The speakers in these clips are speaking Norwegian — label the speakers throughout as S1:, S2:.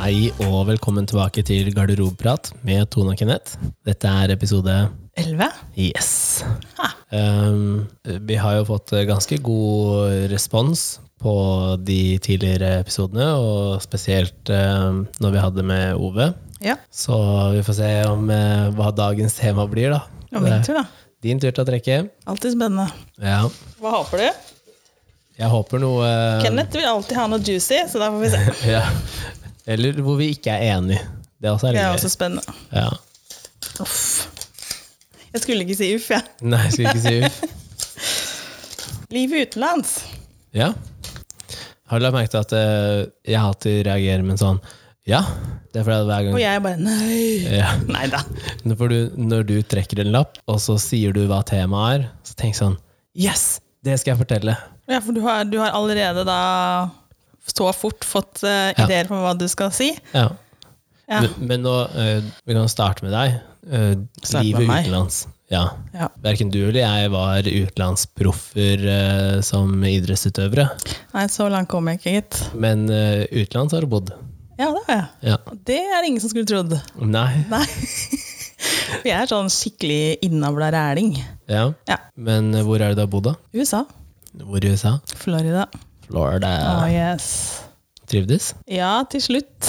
S1: Hei og velkommen tilbake til Garderobeprat med Tone og Kenneth. Dette er episode
S2: 11?
S1: Yes.
S2: Ah.
S1: Um, vi har jo fått ganske god respons på de tidligere episodene, og spesielt um, når vi hadde med Ove.
S2: Ja.
S1: Så vi får se om eh, hva dagens tema blir, da.
S2: Det var min tur, da.
S1: Din tur til å trekke.
S2: Alltid spennende.
S1: Ja.
S2: Hva håper du?
S1: Jeg håper noe eh,
S2: Kenneth vil alltid ha noe juicy, så da får vi se.
S1: ja. Eller hvor vi ikke er enige. Det er også
S2: Det
S1: litt
S2: er
S1: gøy.
S2: også spennende.
S1: Ja.
S2: Uff. Jeg skulle ikke si uff, jeg.
S1: Nei, skal vi ikke si uff.
S2: Livet utenlands.
S1: Ja. Har du lagt merke til at eh, jeg alltid reagerer med en sånn ja? Det er fordi at hver gang
S2: Og jeg bare nei.
S1: ja.
S2: Nei da.
S1: når, du, når du trekker en lapp, og så sier du hva temaet er, så tenk sånn Yes! Det skal jeg fortelle.
S2: Ja, for du har, du har allerede da så fort fått eh,
S1: Ja.
S2: ideer på hva du skal si.
S1: Ja.
S2: Ja.
S1: Men, men nå eh, Vi kan starte med deg. Eh,
S2: Starte med
S1: livet
S2: meg?
S1: utenlands. Ja.
S2: Ja.
S1: Verken du eller jeg var utenlandsproffer eh, som idrettsutøvere.
S2: Nei, så langt kom jeg ikke, gitt.
S1: Men eh, utenlands har du bodd.
S2: Ja, det har jeg.
S1: Ja.
S2: Og Det er ingen som skulle trodd.
S1: Nei.
S2: Nei. For jeg er sånn skikkelig innavla ræling.
S1: Ja.
S2: Ja.
S1: Men eh, hvor er det du har bodd, da?
S2: USA.
S1: Hvor i USA?
S2: Florida.
S1: Florida.
S2: Oh, yes.
S1: Trivdes?
S2: Ja, til slutt.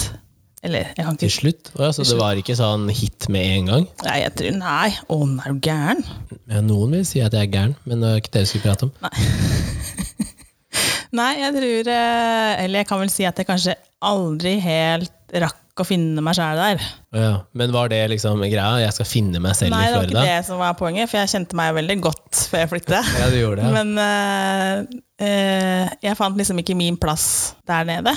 S2: Eller, jeg kan
S1: Til
S2: ikke
S1: slutt? Å ja, så det var ikke sånn hit med en gang?
S2: Nei, jeg tror Nei, å, den er jo gæren.
S1: Ja, noen vil si at jeg er gæren, men det er ikke det vi skulle prate om.
S2: Nei, jeg tror eh, Eller jeg kan vel si at jeg kanskje aldri helt rakk å finne meg sjæl der.
S1: Å ja. Men var det liksom greia? Jeg skal finne meg selv
S2: Nei,
S1: i
S2: det var
S1: Florida?
S2: ikke det som var poenget, for jeg kjente meg veldig godt før jeg flyttet.
S1: Ja, du gjorde det.
S2: Men eh, eh, jeg fant liksom ikke min plass der nede.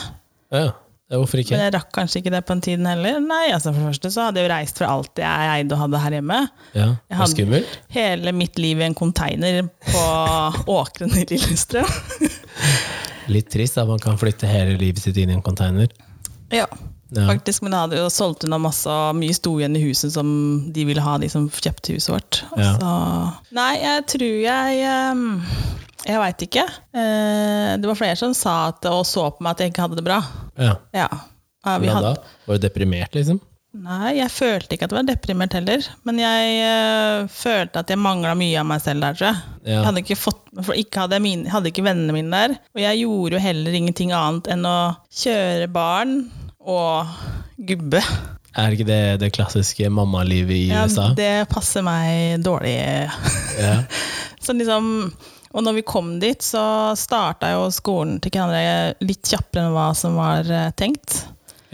S1: Å ja. Ja, hvorfor ikke?
S2: Men jeg rakk kanskje ikke det på den tiden heller. Nei, altså For det første så hadde jeg jo reist fra alt jeg eide og hadde her hjemme.
S1: Ja,
S2: Jeg
S1: det var
S2: hadde-
S1: skummelt?
S2: Hele mitt liv i en container på åkrene i Lillestrøm.
S1: Litt trist at man kan flytte hele livet sitt inn i en container.
S2: Ja,
S1: Ja.
S2: faktisk. Men jeg hadde jo solgt unna masse, og mye sto igjen i huset som de ville ha, de som kjøpte huset vårt. Og
S1: Ja.
S2: Så, nei, jeg tror jeg ehm, Jeg veit ikke. Eh, Det var flere som sa at, og så på meg at jeg ikke hadde det bra.
S1: Ja.
S2: Ja. Ja, vi
S1: Hvordan
S2: hadde,
S1: da? Var du deprimert, liksom?
S2: nei, jeg følte ikke at jeg var deprimert heller. Men jeg eh, følte at jeg mangla mye av meg selv der, tror jeg.
S1: Ja.
S2: Jeg hadde ikke fått for ikke hadde, jeg mine, hadde ikke vennene mine der. Og jeg gjorde jo heller ingenting annet enn å kjøre barn og gubbe.
S1: Er ikke det det klassiske mammalivet i
S2: Ja,
S1: USA?
S2: det passer meg dårlig.
S1: Ja.
S2: Så liksom, og når vi kom dit, så starta jo skolen til hverandre litt kjappere enn hva som var eh, tenkt.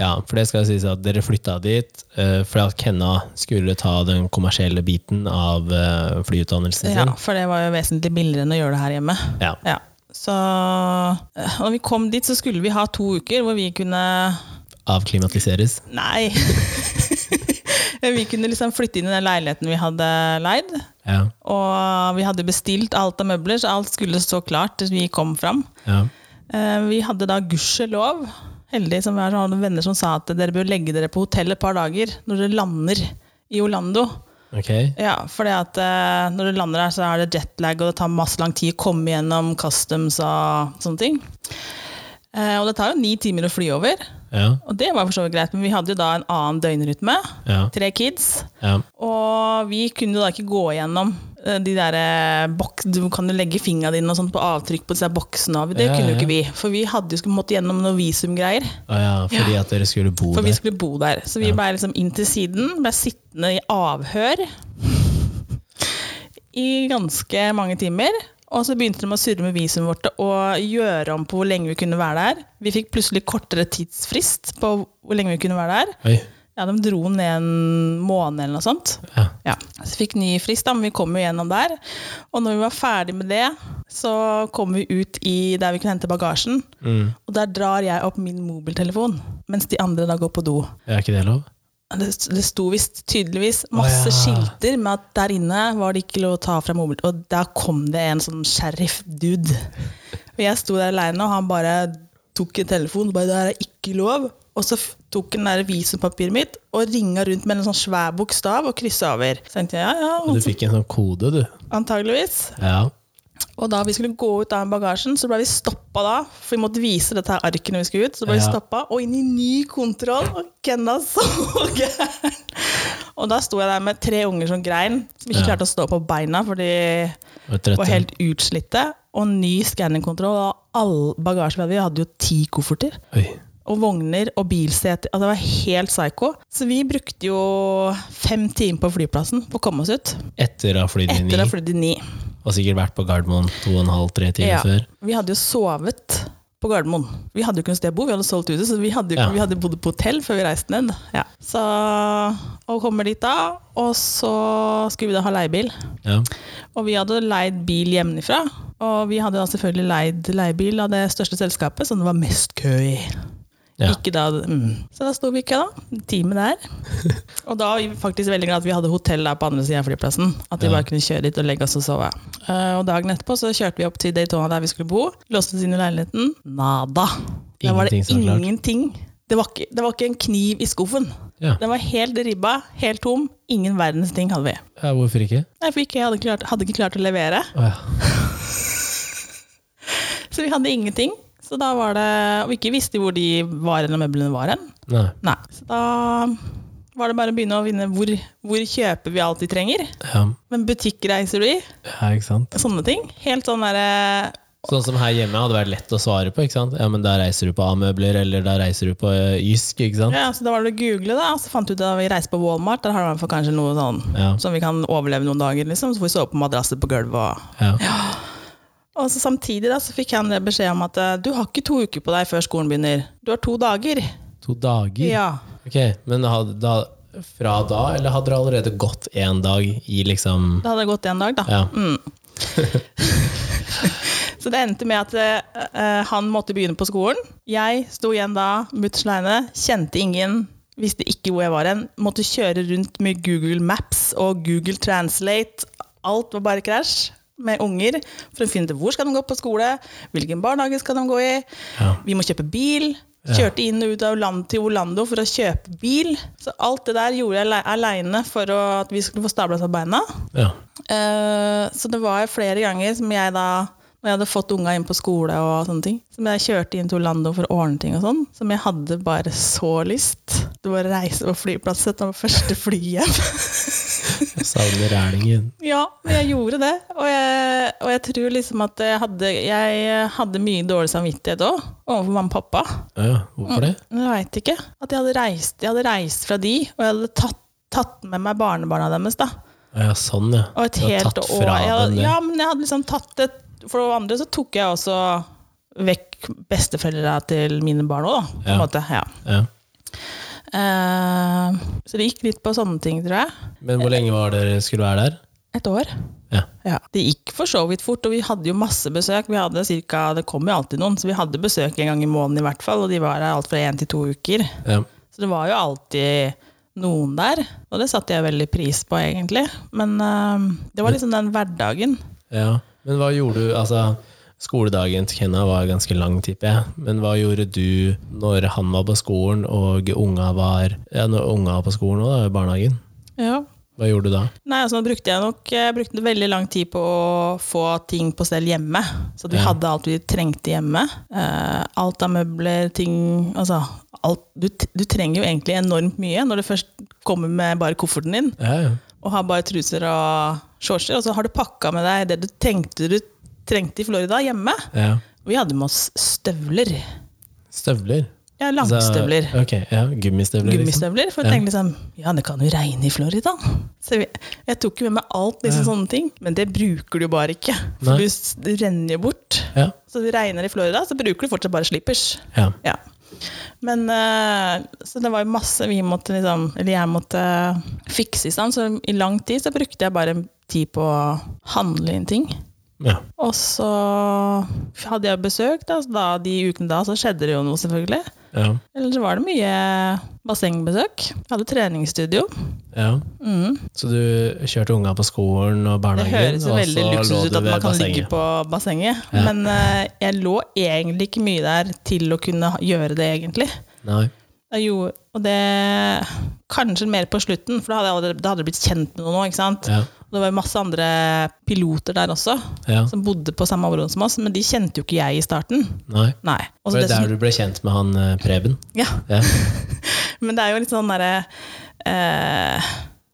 S1: ja, for det skal sies at dere flytta dit eh, fordi at Kenna skulle ta den kommersielle biten av eh, flyutdannelsen
S2: Ja,
S1: sin.
S2: for det var jo vesentlig billigere enn å gjøre det her hjemme.
S1: Ja.
S2: Ja. Så eh, når vi kom dit, så skulle vi ha to uker hvor vi kunne
S1: Avklimatiseres.
S2: Nei. vi kunne liksom flytte inn i den leiligheten vi hadde leid.
S1: Ja.
S2: Og vi hadde bestilt alt av møbler, så alt skulle stå klart til vi kom fram.
S1: ja.
S2: Eh, Vi hadde da gudskjelov, heldig som vi har sånne venner som sa at dere bør legge dere på hotell et par dager når dere lander i Orlando.
S1: Ok.
S2: Ja, for at eh, når du lander her, så er det jetlag, og det tar masse lang tid å komme gjennom customs og sånne ting. Eh, og det tar jo ni timer å fly over.
S1: Ja.
S2: Og det var for så vidt greit, men vi hadde jo da en annen døgnrytme.
S1: Ja.
S2: Tre kids.
S1: ja.
S2: Og vi kunne jo da ikke gå gjennom eh, de der eh, bok, Du kan jo legge fingra dine og sånt på avtrykk på disse boksene. og Det
S1: Ja,
S2: kunne jo
S1: ja.
S2: ikke vi. For vi hadde jo skulle måtte gjennom noen visumgreier.
S1: Å ja, fordi at dere skulle bo
S2: For vi
S1: der.
S2: skulle bo der. Så vi
S1: Ja.
S2: ble liksom inn til siden. Ble sittende i avhør i ganske mange timer. Og så begynte de å surre med visumet vårt og gjøre om på hvor lenge vi kunne være der. Vi fikk plutselig kortere tidsfrist på hvor lenge vi kunne være der.
S1: Oi.
S2: Ja, De dro ned en måned eller noe sånt.
S1: Ja.
S2: Ja, Så fikk ny frist, da, men vi kom jo gjennom der. Og når vi var ferdig med det, så kom vi ut i der vi kunne hente bagasjen.
S1: Mm.
S2: Og der drar jeg opp min mobiltelefon, mens de andre da går på do.
S1: Er ikke det lov?
S2: Det, det sto visst tydeligvis masse
S1: Å, ja.
S2: skilter med at der inne var det ikke lov å ta fra mobil. Og da kom det en sånn sheriff-dude. Og jeg sto der aleine, og han bare tok en telefon. bare, det her er ikke lov. Og så f- tok han det der visumpapiret mitt og ringa rundt med en sånn svær bokstav og kryssa over. Så tenkte jeg ja,
S1: Du
S2: ja,
S1: fikk en sånn kode, du.
S2: antageligvis.
S1: Ja.
S2: Og da vi skulle gå ut av bagasjen, så ble vi stoppa da. For vi måtte vise dette her arket når vi skulle ut. Så ble vi
S1: Ja.
S2: stoppa, og inn i ny kontroll. Og Kenna så gæren. Og da sto jeg der med tre unger som grein, som ikke
S1: Ja.
S2: klarte å stå på beina, for de
S1: Og trøtte.
S2: var helt utslitte. Og ny skanningkontroll. Og all bagasjen vi hadde, vi hadde jo ti kofferter.
S1: Oi.
S2: Og vogner og bilseter. Altså, det var helt psycho. Så vi brukte jo fem timer på flyplassen for å komme oss ut.
S1: Etter å ha flydd inn i
S2: Etter å ha flydd i ni.
S1: Og sikkert vært på Gardermoen to og en halv, tre timer
S2: Ja.
S1: før.
S2: Vi hadde jo sovet på Gardermoen. Vi hadde jo ikke noe sted å bo, vi hadde solgt huset, så vi hadde, jo ikke,
S1: Ja.
S2: vi hadde bodd på hotell før vi reiste ned. Ja. Så, og kommer dit da, og så skulle vi da ha leiebil.
S1: Ja.
S2: Og vi hadde leid bil hjemmefra, og vi hadde da selvfølgelig leid leiebil av det største selskapet, som det var mest kø i.
S1: Ja.
S2: Ikke da, mm. Så da sto vi i kø, da. En time der. Og da var vi faktisk veldig glad at vi hadde hotell der på andre siden av flyplassen. At vi
S1: Ja.
S2: bare kunne kjøre dit og legge oss og sove. Eh, og dagen etterpå så kjørte vi opp til Daytona der vi skulle bo. Låste oss inn i leiligheten. Nada. Der var det
S1: Ingenting som var klart.
S2: ingenting. Det var, ikke, det var ikke en kniv i skuffen.
S1: Ja.
S2: Den var helt ribba, helt tom. Ingen verdens ting hadde vi.
S1: ja, hvorfor ikke?
S2: Nei, for ikke, jeg hadde, klart, hadde ikke klart å levere.
S1: Å ja.
S2: Så vi hadde ingenting. Så da var det, Og ikke visste hvor de var eller møblene var hen.
S1: Nei.
S2: Nei. Så da var det bare å begynne å vinne hvor, hvor kjøper vi alt vi trenger.
S1: Ja.
S2: Men butikkreiser du i,
S1: ja, ikke sant?
S2: sånne ting. Helt sånn derre
S1: Sånn som her hjemme hadde vært lett å svare på. ikke sant? Ja, men der reiser du på A-møbler, eller der reiser du på eh, Jysk, ikke sant?
S2: ja, Så da var det å google, da. Så fant vi ut at vi reiser på Walmart. Der har de i hvert fall kanskje noe sånn
S1: Ja.
S2: som vi kan overleve noen dager, liksom. Så får vi sove på madrasser på gulvet og
S1: Ja.
S2: Og så samtidig da, så fikk han det beskjed om at eh, du har ikke to uker på deg før skolen begynner. Du har to dager.
S1: To dager?
S2: Ja.
S1: Ok, Men hadde, da, fra da, eller hadde dere allerede gått én dag i liksom
S2: Da hadde det gått en dag, da.
S1: Ja.
S2: Så det endte med at eh, han måtte begynne på skolen. Jeg sto igjen da, mutters aleine, kjente ingen, visste ikke hvor jeg var hen. Måtte kjøre rundt med Google Maps og Google Translate. Alt var bare krasj med unger for å finne ut hvor skal de gå på skole, hvilken barnehage skal de gå i.
S1: Ja.
S2: Vi må kjøpe bil.
S1: Ja.
S2: Kjørte inn og ut av land til Orlando for å kjøpe bil. Så alt det der gjorde jeg aleine for å, at vi skulle få stabla oss av beina.
S1: ja.
S2: Eh, så det var flere ganger som jeg da når jeg hadde fått unga inn på skole og sånne ting, som jeg kjørte inn til Orlando for å ordne ting og sånn, som jeg hadde bare så lyst. Det var å reise på flyplass, dette var første fly hjem.
S1: Jeg Savner rælingen.
S2: ja, men jeg gjorde det. Og jeg, og jeg tror liksom at jeg hadde, jeg hadde mye dårlig samvittighet òg, overfor mamma og pappa.
S1: Ja, hvorfor det?
S2: Men Jeg veit ikke. At jeg hadde, reist, jeg hadde reist fra de, og jeg hadde tatt, tatt med meg barnebarna deres, da.
S1: Ja, sånn, ja.
S2: Og et
S1: Du har
S2: helt
S1: tatt
S2: år.
S1: fra
S2: Jeg,
S1: dem
S2: hadde-
S1: det.
S2: ja, men jeg hadde liksom tatt det For det andre så tok jeg også vekk besteforeldra til mine barn òg, da. På en
S1: Ja.
S2: måte. Ja.
S1: Ja.
S2: Eh, så det gikk litt på sånne ting, tror jeg.
S1: Men hvor lenge var dere skulle være der?
S2: Et år.
S1: Ja.
S2: Ja. Det gikk for så vidt fort, og vi hadde jo masse besøk. Vi hadde cirka, Det kom jo alltid noen, så vi hadde besøk en gang i måneden i hvert fall. Og de var her alt fra én til to uker.
S1: ja.
S2: Så det var jo alltid noen der. Og det satte jeg veldig pris på, egentlig. Men eh, det var liksom den hverdagen.
S1: Ja, men hva gjorde du, altså skoledagen til Kenna var ganske lang, tipper jeg, men hva gjorde du når han var på skolen og unga var, ja, når unga var på skolen også da, i barnehagen?
S2: Ja.
S1: Hva gjorde du da?
S2: Nei, altså nå brukte jeg nok jeg brukte veldig lang tid på å få ting på stell hjemme. Så at vi
S1: Ja.
S2: hadde alt vi trengte hjemme. Eh, alt av møbler, ting Altså alt. Du, t- du trenger jo egentlig enormt mye når du først kommer med bare kofferten din
S1: Ja, ja.
S2: og har bare truser og shortser, og så har du pakka med deg det du tenkte du trengte i Florida, hjemme.
S1: ja.
S2: Vi hadde med oss støvler.
S1: Støvler?
S2: Ja,
S1: Altså,
S2: langstøvler.
S1: ok, ja, gummistøvler. Liksom.
S2: gummistøvler. For jeg
S1: Ja.
S2: tenkte liksom Ja, det kan jo regne i Florida. Så jeg, jeg tok jo med meg alt,
S1: Ja.
S2: liksom sånne ting. Men det bruker du jo bare ikke.
S1: Nei.
S2: For du, s- det renner jo bort.
S1: Ja,
S2: Så det regner i Florida, så bruker du fortsatt bare slippers.
S1: ja.
S2: Ja. Men eh, Så det var jo masse vi måtte liksom Eller jeg måtte fikse i stand. Så i lang tid så brukte jeg bare tid på å handle inn ting.
S1: ja.
S2: Og så hadde jeg besøk, da, så da de ukene da, så skjedde det jo noe, selvfølgelig.
S1: Ja,
S2: Eller så var det mye bassengbesøk. Jeg hadde treningsstudio.
S1: ja.
S2: Mm.
S1: Så du kjørte unga på skolen og
S2: Det
S1: barnehagen,
S2: høres jo veldig luksus ut at man kan ligge på bassenget,
S1: Ja.
S2: men eh, jeg lå egentlig ikke mye der til å kunne ha- gjøre det, egentlig.
S1: Nei,
S2: Jeg gjorde- og det Kanskje mer på slutten, for da hadde jeg allerede, da hadde jeg blitt kjent med noen òg.
S1: Ja.
S2: Og det var jo masse andre piloter der også,
S1: Ja.
S2: som bodde på samme område som oss, men de kjente jo ikke jeg i starten.
S1: Nei.
S2: Nei. Og så
S1: Var det
S2: det som-
S1: der du ble kjent med han eh, Preben?
S2: ja.
S1: Ja.
S2: Men det er jo litt sånn derre eh,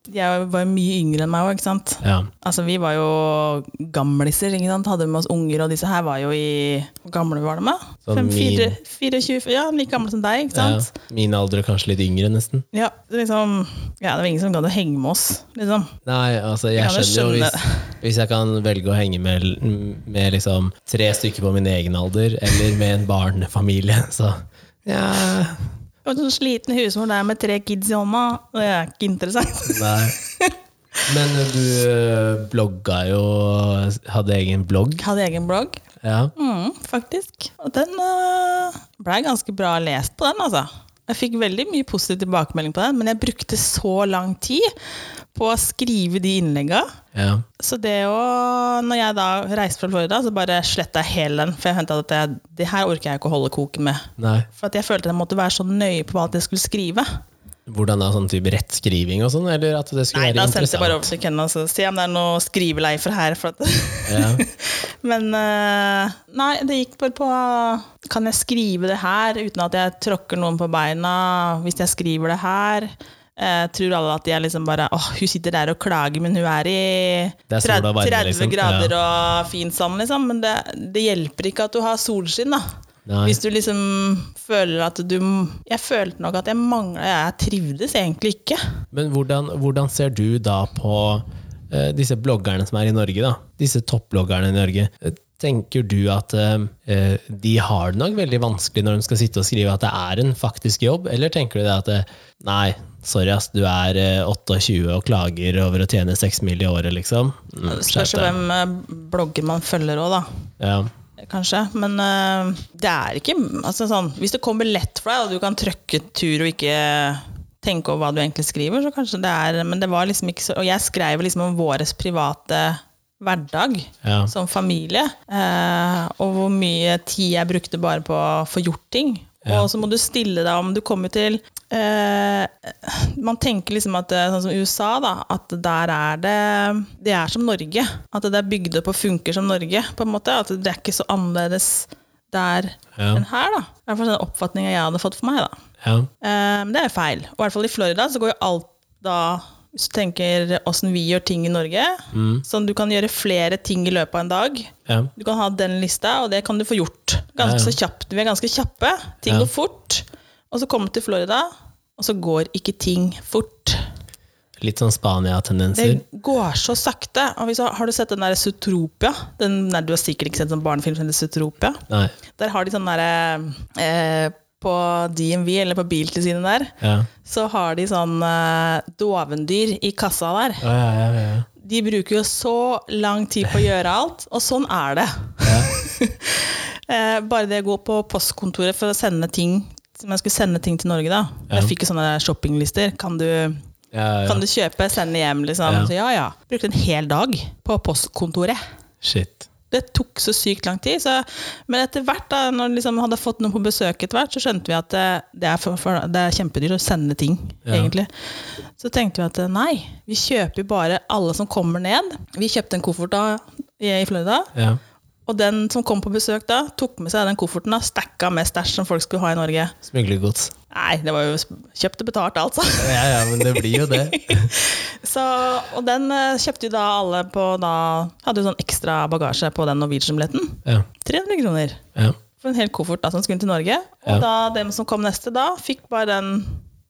S2: Jeg var jo mye yngre enn meg òg, ikke sant.
S1: ja.
S2: Altså, vi var jo gamliser, ikke sant? hadde med oss unger, og disse her var jo i Hvor gamle var de, da?
S1: Sånn
S2: Fem, fire,
S1: min-
S2: 24, ja, like gamle som deg, ikke
S1: ja.
S2: sant?
S1: Min alder og kanskje litt yngre, nesten.
S2: Ja, det er liksom, ja, det var ingen som gadd å henge med oss, liksom.
S1: Nei, altså jeg
S2: Ja,
S1: skjønner
S2: det
S1: jo
S2: skjønner
S1: hvis, hvis jeg kan velge å henge med, med liksom tre stykker på min egen alder, eller med en barnefamilie, så ja.
S2: Og sånn sliten husmor der med tre kids i hånda, det er ikke interessant.
S1: Nei. Men du eh, blogga jo Hadde egen blogg?
S2: Jeg hadde egen blogg,
S1: Ja.
S2: mm, faktisk. Og den øh, ble ganske bra lest på den, altså. Jeg fikk veldig mye positiv tilbakemelding på den, men jeg brukte så lang tid på å skrive de innlegga.
S1: ja.
S2: Så det å, når jeg da reiste fra Florida, så bare sletta jeg hele den. For jeg fant ut at jeg, det her orker jeg ikke å holde koken med.
S1: Nei.
S2: For at jeg følte at jeg måtte være så nøye på hva jeg skulle skrive.
S1: Hvordan da, sånn type rettskriving og sånn, eller at det skulle
S2: Nei, da
S1: være
S2: sendte jeg bare
S1: interessant?
S2: over til Ken og så se om det er noe skriveleifer her. For at
S1: Ja.
S2: Men eh, nei, det gikk bare på Kan jeg skrive det her uten at jeg tråkker noen på beina hvis jeg skriver det her? Eh, tror alle at jeg liksom bare åh, hun sitter der og klager, men hun er i
S1: Det er sol og varme,
S2: 30
S1: liksom.
S2: grader og fint sånn, liksom. Men det, det hjelper ikke at du har solskinn, da.
S1: Nei.
S2: Hvis du liksom føler at du Jeg følte nok at jeg mangla Jeg trivdes egentlig ikke.
S1: Men hvordan, hvordan ser du da på eh, disse bloggerne som er i Norge, da? Disse toppbloggerne i Norge. Eh, Tenker du at eh, eh, de har det nok veldig vanskelig når de skal sitte og skrive at det er en faktisk jobb, eller tenker du det at eh, nei, sorry ass, du er eh, 28 og klager over å tjene 6 mill. i året, liksom? Mm,
S2: Det spørs jo
S1: skjerp deg.
S2: hvem eh, blogger man følger òg, da.
S1: Ja.
S2: Kanskje. Men eh, det er ikke altså, sånn, Hvis det kommer lett for deg, og du kan trøkke tur og ikke tenke over hva du egentlig skriver, så kanskje det er Men det var liksom ikke så Og jeg skrev liksom om vår private hverdag
S1: Ja.
S2: som familie, eh, og hvor mye tid jeg brukte bare på å få gjort ting. Og så må du stille deg om du kommer til eh, Man tenker liksom at eh, sånn som USA, da, at der er det Det er som Norge. At det er bygd opp og funker som Norge, på en måte. At det er ikke så annerledes der
S1: Ja.
S2: enn her, da. I hvert fall den oppfatninga jeg hadde fått for meg, da.
S1: ja.
S2: Eh, Men det er feil. Og i hvert fall i Florida så går jo alt da Hvis du tenker åssen vi gjør ting i Norge
S1: Mm.
S2: Sånn du kan gjøre flere ting i løpet av en dag.
S1: Ja.
S2: Du kan ha den lista, og det kan du få gjort
S1: Ja,
S2: ganske
S1: ja.
S2: så kjapt. Vi er ganske kjappe. Ting
S1: Ja.
S2: går fort. Og så kommer du til Florida, og så går ikke ting fort.
S1: Litt sånn
S2: Det
S1: Spania-tendenser.
S2: går så sakte. Og hvis, har du sett den der Zootropia? Den, nei, du har sikkert ikke sett sånn barnefilm som heter Zootropia.
S1: Nei.
S2: Der har de sånn derre eh, På DMV, eller på biltilsynet der,
S1: Ja.
S2: så har de sånn eh, dovendyr i kassa der.
S1: Å, ja, ja, ja, ja.
S2: De bruker jo så lang tid på å gjøre alt, og sånn er det. Eh, Bare det å gå på postkontoret for å sende ting som jeg skulle sende ting til Norge, da.
S1: Ja.
S2: Jeg fikk jo sånne shoppinglister. Kan du,
S1: Ja, ja,
S2: kan
S1: ja.
S2: du kjøpe, sende hjem, liksom?
S1: Ja.
S2: Så ja, ja. Brukte en hel dag på postkontoret.
S1: Shit.
S2: Det tok så sykt lang tid. Så, men etter hvert, da, når vi liksom hadde fått noen på besøk etter hvert, så skjønte vi at eh, det er, for, for, det er kjempedyrt å sende ting,
S1: Ja.
S2: egentlig. Så tenkte vi at eh, nei, vi kjøper jo bare alle som kommer ned. Vi kjøpte en koffert da i i Florida,
S1: Ja.
S2: og den som kom på besøk da, tok med seg den kofferten og stakka med stæsj som folk skulle ha i Norge.
S1: Smuglergods.
S2: Nei, det var jo kjøpt og betalt, altså.
S1: Ja, ja, men det blir jo det.
S2: Så, og den eh, kjøpte jo da alle på da Hadde jo sånn ekstra bagasje på den Norwegian-billetten.
S1: Ja.
S2: 300 kroner.
S1: Ja.
S2: for en hel koffert da, som skulle til Norge. Og
S1: Ja.
S2: da, dem som kom neste da, fikk bare den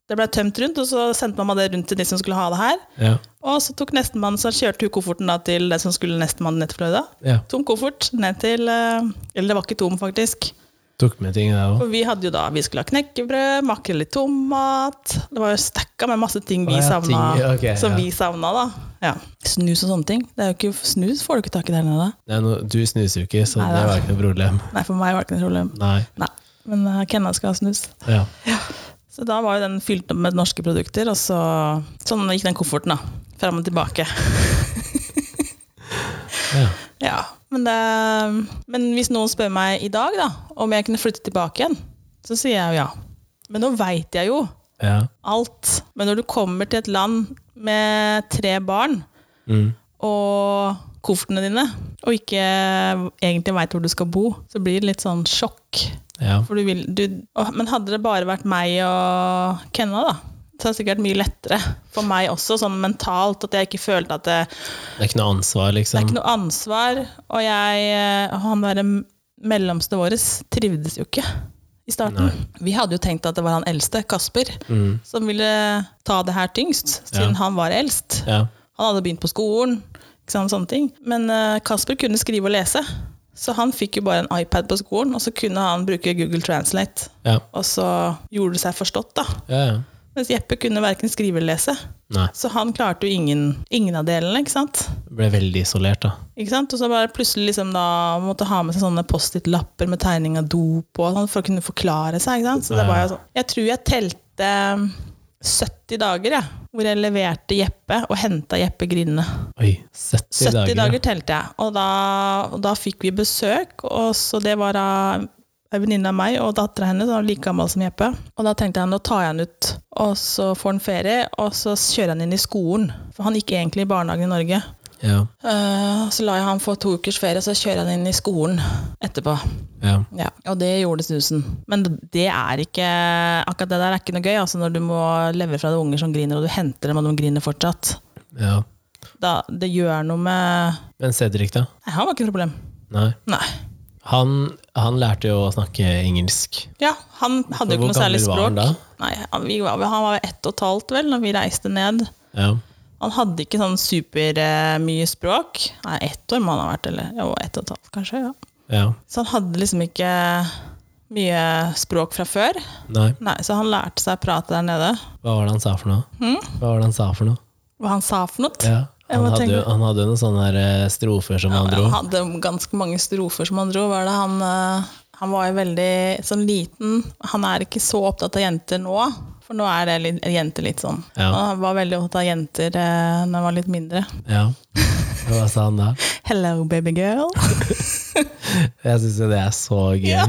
S2: Det ble tømt rundt, og så sendte mamma det rundt til de som skulle ha det her.
S1: Ja.
S2: Og så tok nestemann, så kjørte hun kofferten da til det som skulle nestemann ned til Florida.
S1: ja.
S2: Tom koffert ned til eh, Eller det var ikke tom, faktisk.
S1: Tok med ting der òg.
S2: For vi hadde jo da Vi skulle ha knekkebrød, makrell i tomat Det var jo stakka med masse ting vi
S1: Å ja,
S2: savna.
S1: ting, ok,
S2: som
S1: ja.
S2: vi savna, da. Ja. Snus og sånne ting. Det er jo ikke, snus får du ikke tak i der nede.
S1: Nei, no, du snuser jo ikke, så
S2: Nei,
S1: det
S2: da.
S1: var ikke noe problem.
S2: Nei, for meg var det ikke noe problem.
S1: Nei.
S2: Nei. Men eh, Kenna skal ha snus.
S1: Ja.
S2: Så da var jo den fylt opp med norske produkter, og så sånn gikk den kofferten da, frem og tilbake.
S1: ja.
S2: Ja, men, det, men hvis noen spør meg i dag da, om jeg kunne flytte tilbake igjen, så sier jeg jo ja. Men nå veit jeg jo
S1: Ja.
S2: alt. Men når du kommer til et land med tre barn
S1: Mm.
S2: og koffertene dine, og ikke egentlig veit hvor du skal bo, så blir det litt sånn sjokk.
S1: ja.
S2: For du vil, du, Åh, men hadde det bare vært meg og Kenna, da, så er det sikkert mye lettere for meg også, sånn mentalt, at jeg ikke følte at det,
S1: Det er ikke noe ansvar,
S2: det er
S1: liksom.
S2: ikke noe ansvar. Og jeg, eh, han derre mellomste våres trivdes jo ikke i starten. Vi hadde jo tenkt at det var han eldste, Kasper,
S1: Mm.
S2: som ville ta det her tyngst, siden
S1: Ja.
S2: han var eldst.
S1: Ja.
S2: Han hadde begynt på skolen, ikke sant, sånne ting. Men eh, Kasper kunne skrive og lese, så han fikk jo bare en iPad på skolen, og så kunne han bruke Google Translate.
S1: Ja.
S2: Og så gjorde det seg forstått, da.
S1: ja, ja.
S2: Mens Jeppe kunne verken skrive eller lese.
S1: Nei.
S2: Så han klarte jo ingen, ingen av delene, ikke sant?
S1: Ble veldig isolert, da.
S2: Ikke sant? Og så bare plutselig liksom da måtte ha med seg sånne Post-It-lapper med tegning av dop og sånn for å kunne forklare seg. Ikke sant? Så det var jo sånn. Jeg tror jeg telte um, 70 dager, jeg, hvor jeg leverte Jeppe og henta Jeppe Grinne.
S1: Oi, 70,
S2: 70 dager,
S1: dager. ja.
S2: telte jeg, og da, og da fikk vi besøk, og så det var av en venninne av meg og dattera hennes, hun var like gammel som Jeppe. Og da tenkte jeg nå tar jeg han ut, og så får han ferie, og så kjører han inn i skolen. For han gikk egentlig i barnehagen i Norge.
S1: Ja.
S2: Eh, og så la jeg han få to ukers ferie, og så kjører han inn i skolen etterpå.
S1: Ja.
S2: Ja, og det gjorde snusen. Men det er ikke Akkurat det der er ikke noe gøy, altså når du må levere fra deg unger som griner, og du henter dem, og de griner fortsatt.
S1: ja.
S2: Da, det gjør noe med
S1: Men Cedric, da?
S2: Nei, han var ikke noe problem.
S1: Nei.
S2: Nei.
S1: Han, han lærte jo å snakke engelsk.
S2: Ja, han hadde jo
S1: Hvor
S2: ikke noe særlig
S1: gammel
S2: språk.
S1: var han da?
S2: Nei, han, vi var, han var ett og et halvt vel når vi reiste ned.
S1: Ja.
S2: Han hadde ikke sånn supermye eh, mye språk. Nei, ett år må han ha vært, eller jo, ett og et halvt kanskje. ja.
S1: ja.
S2: Så han hadde liksom ikke mye språk fra før.
S1: Nei.
S2: Nei, Så han lærte seg å prate der nede.
S1: Hva var det han sa for noe? Hva var det han sa for noe?
S2: Hva han sa for noe.
S1: Ja.
S2: Hm? Jeg
S1: Han,
S2: må
S1: hadde,
S2: tenke-
S1: jo- han hadde jo noen sånne her, eh, strofer som han dro.
S2: Han hadde ganske mange strofer som han dro. Var det han, eh, han var jo veldig sånn liten. Han er ikke så opptatt av jenter nå, for nå er det litt, jenter litt sånn.
S1: Ja.
S2: Han var veldig opptatt av jenter eh, når han var litt mindre.
S1: Ja. Hva sa han da?
S2: Hello, baby girl.
S1: Jeg syns jo det er så gøy.
S2: ja.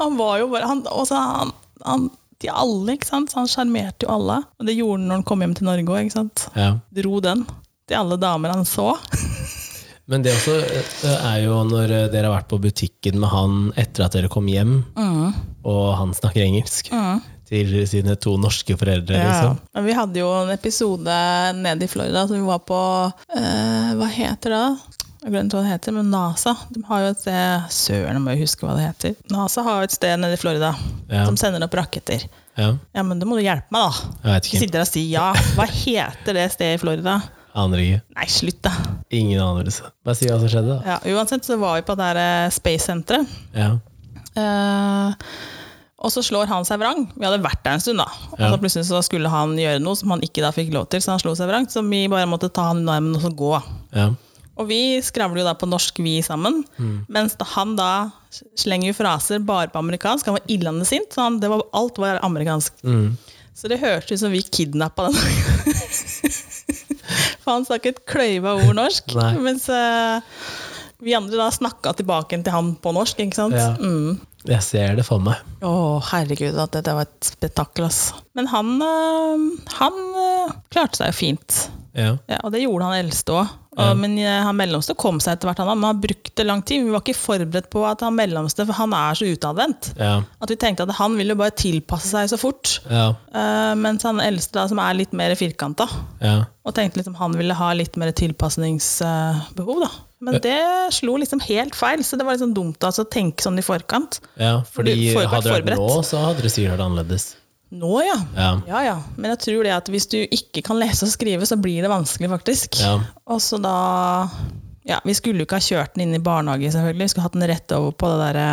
S2: Han var jo bare han, og så han, han, til alle, ikke sant? Så han sjarmerte jo alle. Og det gjorde han når han kom hjem til Norge òg, ikke sant.
S1: Ja.
S2: Dro den til alle damer han så.
S1: Men det også eh, er jo når eh, dere har vært på butikken med han etter at dere kom hjem,
S2: Mm.
S1: og han snakker engelsk til sine to norske foreldre,
S2: Ja.
S1: liksom.
S2: Men vi hadde jo en episode nede i Florida som vi var på eh, Hva heter det? da? Jeg glemte hva det heter, men NASA de har jo et sted Søren, jeg må jo huske hva det heter. NASA har jo et sted nede i Florida
S1: Ja.
S2: som sender opp raketter.
S1: Ja.
S2: Ja, men da må du hjelpe meg, da.
S1: Jeg vet
S2: Ikke
S1: ikke.
S2: sitte der og si ja. Hva heter det stedet i Florida?
S1: Aner ikke.
S2: Nei, slutt, da.
S1: Ingen anelse. Bare si hva som skjedde, da.
S2: Ja, uansett så var vi på det her eh, Space-senteret.
S1: Ja.
S2: Eh, og så slår han seg vrang. Vi hadde vært der en stund, da. Og
S1: Ja.
S2: så plutselig så skulle han gjøre noe som han ikke da fikk lov til, så han slo seg vrang. Så vi bare måtte ta han i armen og så gå.
S1: Ja.
S2: Og vi skravler jo da på norsk, vi sammen.
S1: Mm.
S2: Mens da han da slenger jo fraser bare på amerikansk. Han var illende sint, så han, det var, alt var amerikansk.
S1: Mm.
S2: Så det hørtes ut som vi kidnappa den. For han snakket kløyva ord norsk.
S1: Nei.
S2: Mens eh, vi andre da snakka tilbake til han på norsk, ikke sant.
S1: Ja.
S2: Mm.
S1: Jeg ser det for meg.
S2: Å, herregud, at dette var et spetakkel, ass. Men han, øh, han øh, klarte seg jo fint.
S1: Ja.
S2: Ja, og det gjorde han eldste òg. Men øh, han mellomste kom seg etter hvert, han da, men han brukte lang tid. Vi var ikke forberedt på at han mellomste, for han er så utadvendt.
S1: Ja.
S2: At vi tenkte at han ville jo bare tilpasse seg så fort.
S1: Ja.
S2: Eh, mens han eldste, da, som er litt mer firkanta,
S1: ja.
S2: og tenkte liksom han ville ha litt mer tilpasningsbehov, da. Men det slo liksom helt feil, så det var liksom dumt altså, å tenke sånn i forkant.
S1: ja. Fordi
S2: Du får jo ikke
S1: hadde det
S2: vært
S1: vært nå, så hadde det sikkert vært annerledes.
S2: Nå, ja.
S1: Ja.
S2: Ja, ja. Men jeg tror det at hvis du ikke kan lese og skrive, så blir det vanskelig, faktisk.
S1: Ja.
S2: Og så da ja, Vi skulle jo ikke ha kjørt den inn i barnehage, selvfølgelig. Vi skulle hatt den rett over på det derre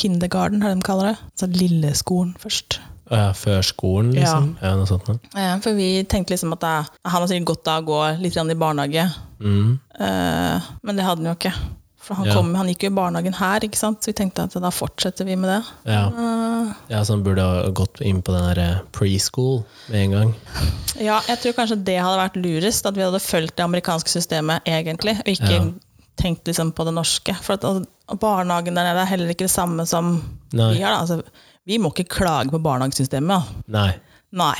S2: kindergarten, er det de kaller det. Altså lilleskolen først.
S1: Ja, Før skolen, liksom? Ja, noe sånt noe.
S2: Eh, For vi tenkte liksom at eh, han har sikkert godt av å gå litt grann i barnehage,
S1: Mm.
S2: Eh, men det hadde han jo ikke. For han,
S1: Ja.
S2: kom, han gikk jo i barnehagen her, ikke sant? så vi tenkte at da fortsetter vi med det.
S1: Ja.
S2: Eh,
S1: ja, så han burde ha gått inn på den der eh, preschool med en gang.
S2: Ja, jeg tror kanskje det hadde vært lurest, at vi hadde fulgt det amerikanske systemet egentlig, og ikke
S1: Ja.
S2: tenkt liksom på det norske. For at, og barnehagen der nede er heller ikke det samme som
S1: Nei.
S2: vi har. Da. Altså, Vi må ikke klage på barnehagesystemet. da.
S1: Nei.
S2: Nei.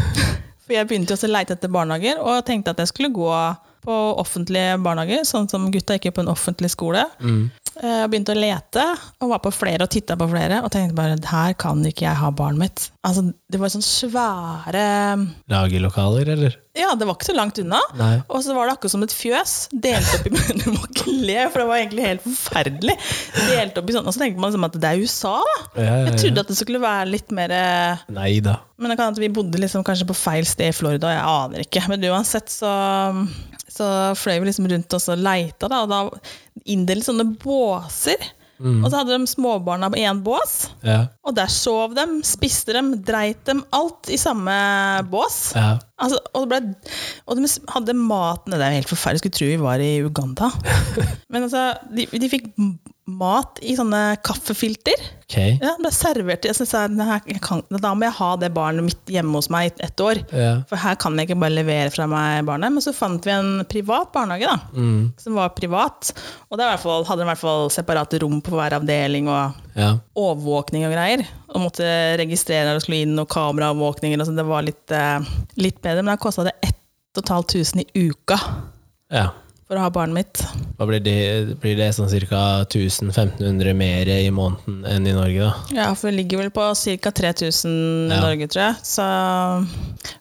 S2: For jeg begynte jo også å leite etter barnehager, og tenkte at jeg skulle gå på offentlige barnehager, sånn som gutta gikk jo på en offentlig skole.
S1: Mm.
S2: Eh, Begynte å lete, og var på flere og titta på flere, og tenkte bare her kan ikke jeg ha barnet mitt. Altså, det var sånn svære
S1: Lagerlokaler, eller?
S2: Ja, det var ikke så langt unna.
S1: Nei.
S2: Og så var det akkurat som et fjøs, delt opp i Du må ikke le, for det var egentlig helt forferdelig. Delt opp i sånn, Og så tenker man liksom at det er USA, da.
S1: Ja, ja,
S2: Jeg
S1: ja.
S2: trodde at det skulle være litt mer eh,
S1: Nei da.
S2: men det kan hende at vi bodde liksom kanskje på feil sted i Florida, jeg aner ikke. Men uansett så, så fløy vi liksom rundt oss og leita, da, og da inndelte sånne båser.
S1: Mm.
S2: Og så hadde de småbarna på én bås,
S1: Ja.
S2: og der sov dem, spiste dem, dreit dem, alt i samme bås.
S1: ja.
S2: Altså, og, det ble, og de hadde maten Det er jo helt forferdelig, skulle tro vi var i Uganda. Men altså, de, de fikk mat i sånne kaffefilter.
S1: Ok.
S2: Ja, det ble servert. Jeg synes jeg, "Nei, jeg kan, da må jeg ha det barnet mitt hjemme hos meg i ett år.
S1: Ja.
S2: For her kan jeg ikke bare levere fra meg barnet. Men så fant vi en privat barnehage, da. Som var privat. Og der i hvert fall, hadde de i hvert fall separate rom på hver avdeling og
S1: Ja.
S2: overvåkning og greier. Og måtte registrere når det skulle inn, og kameraovervåkninger. og sånn. det var litt, eh, litt bedre. Men da kosta det 1500 i uka
S1: ja.
S2: for å ha barnet mitt.
S1: Hva blir det, blir det sånn ca. 1500 mer i måneden enn i Norge, da?
S2: Ja, for det ligger vel på ca. 3000 i
S1: Ja.
S2: Norge, tror jeg. Så,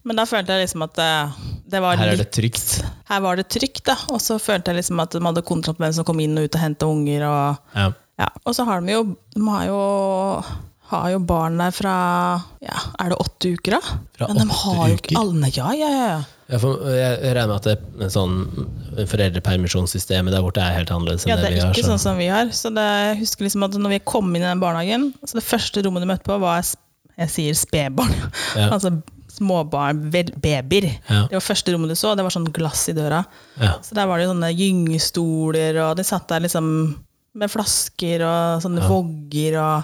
S2: men da følte jeg liksom at det, det var
S1: Her er
S2: litt
S1: det trygt.
S2: Her var det trygt, da. Og så følte jeg liksom at de hadde kontroll på hvem som kom inn og ut og henta unger. Og,
S1: Ja.
S2: ja. og så har de jo De har jo, har jo barn der fra ja, Er det åtte uker, da?
S1: Fra
S2: Men de
S1: åtte
S2: har jo
S1: uker?
S2: ikke alle Ja, ja, ja. ja.
S1: Ja, for Jeg jeg regner med at det er sånn foreldrepermisjonssystemet der borte er helt annerledes enn
S2: Ja, det
S1: det vi
S2: er
S1: har.
S2: ikke
S1: så-
S2: sånn som vi har. Så det, jeg husker liksom at når vi kom inn i den barnehagen, så det første rommet du møtte på, var sp- jeg sier spedbarn.
S1: Ja.
S2: altså småbarn, vel- babyer.
S1: Ja.
S2: Det var første rommet du så, det var sånn glass i døra.
S1: Ja.
S2: Så der var det jo sånne gyngestoler, og de satt der liksom med flasker og sånne vogger og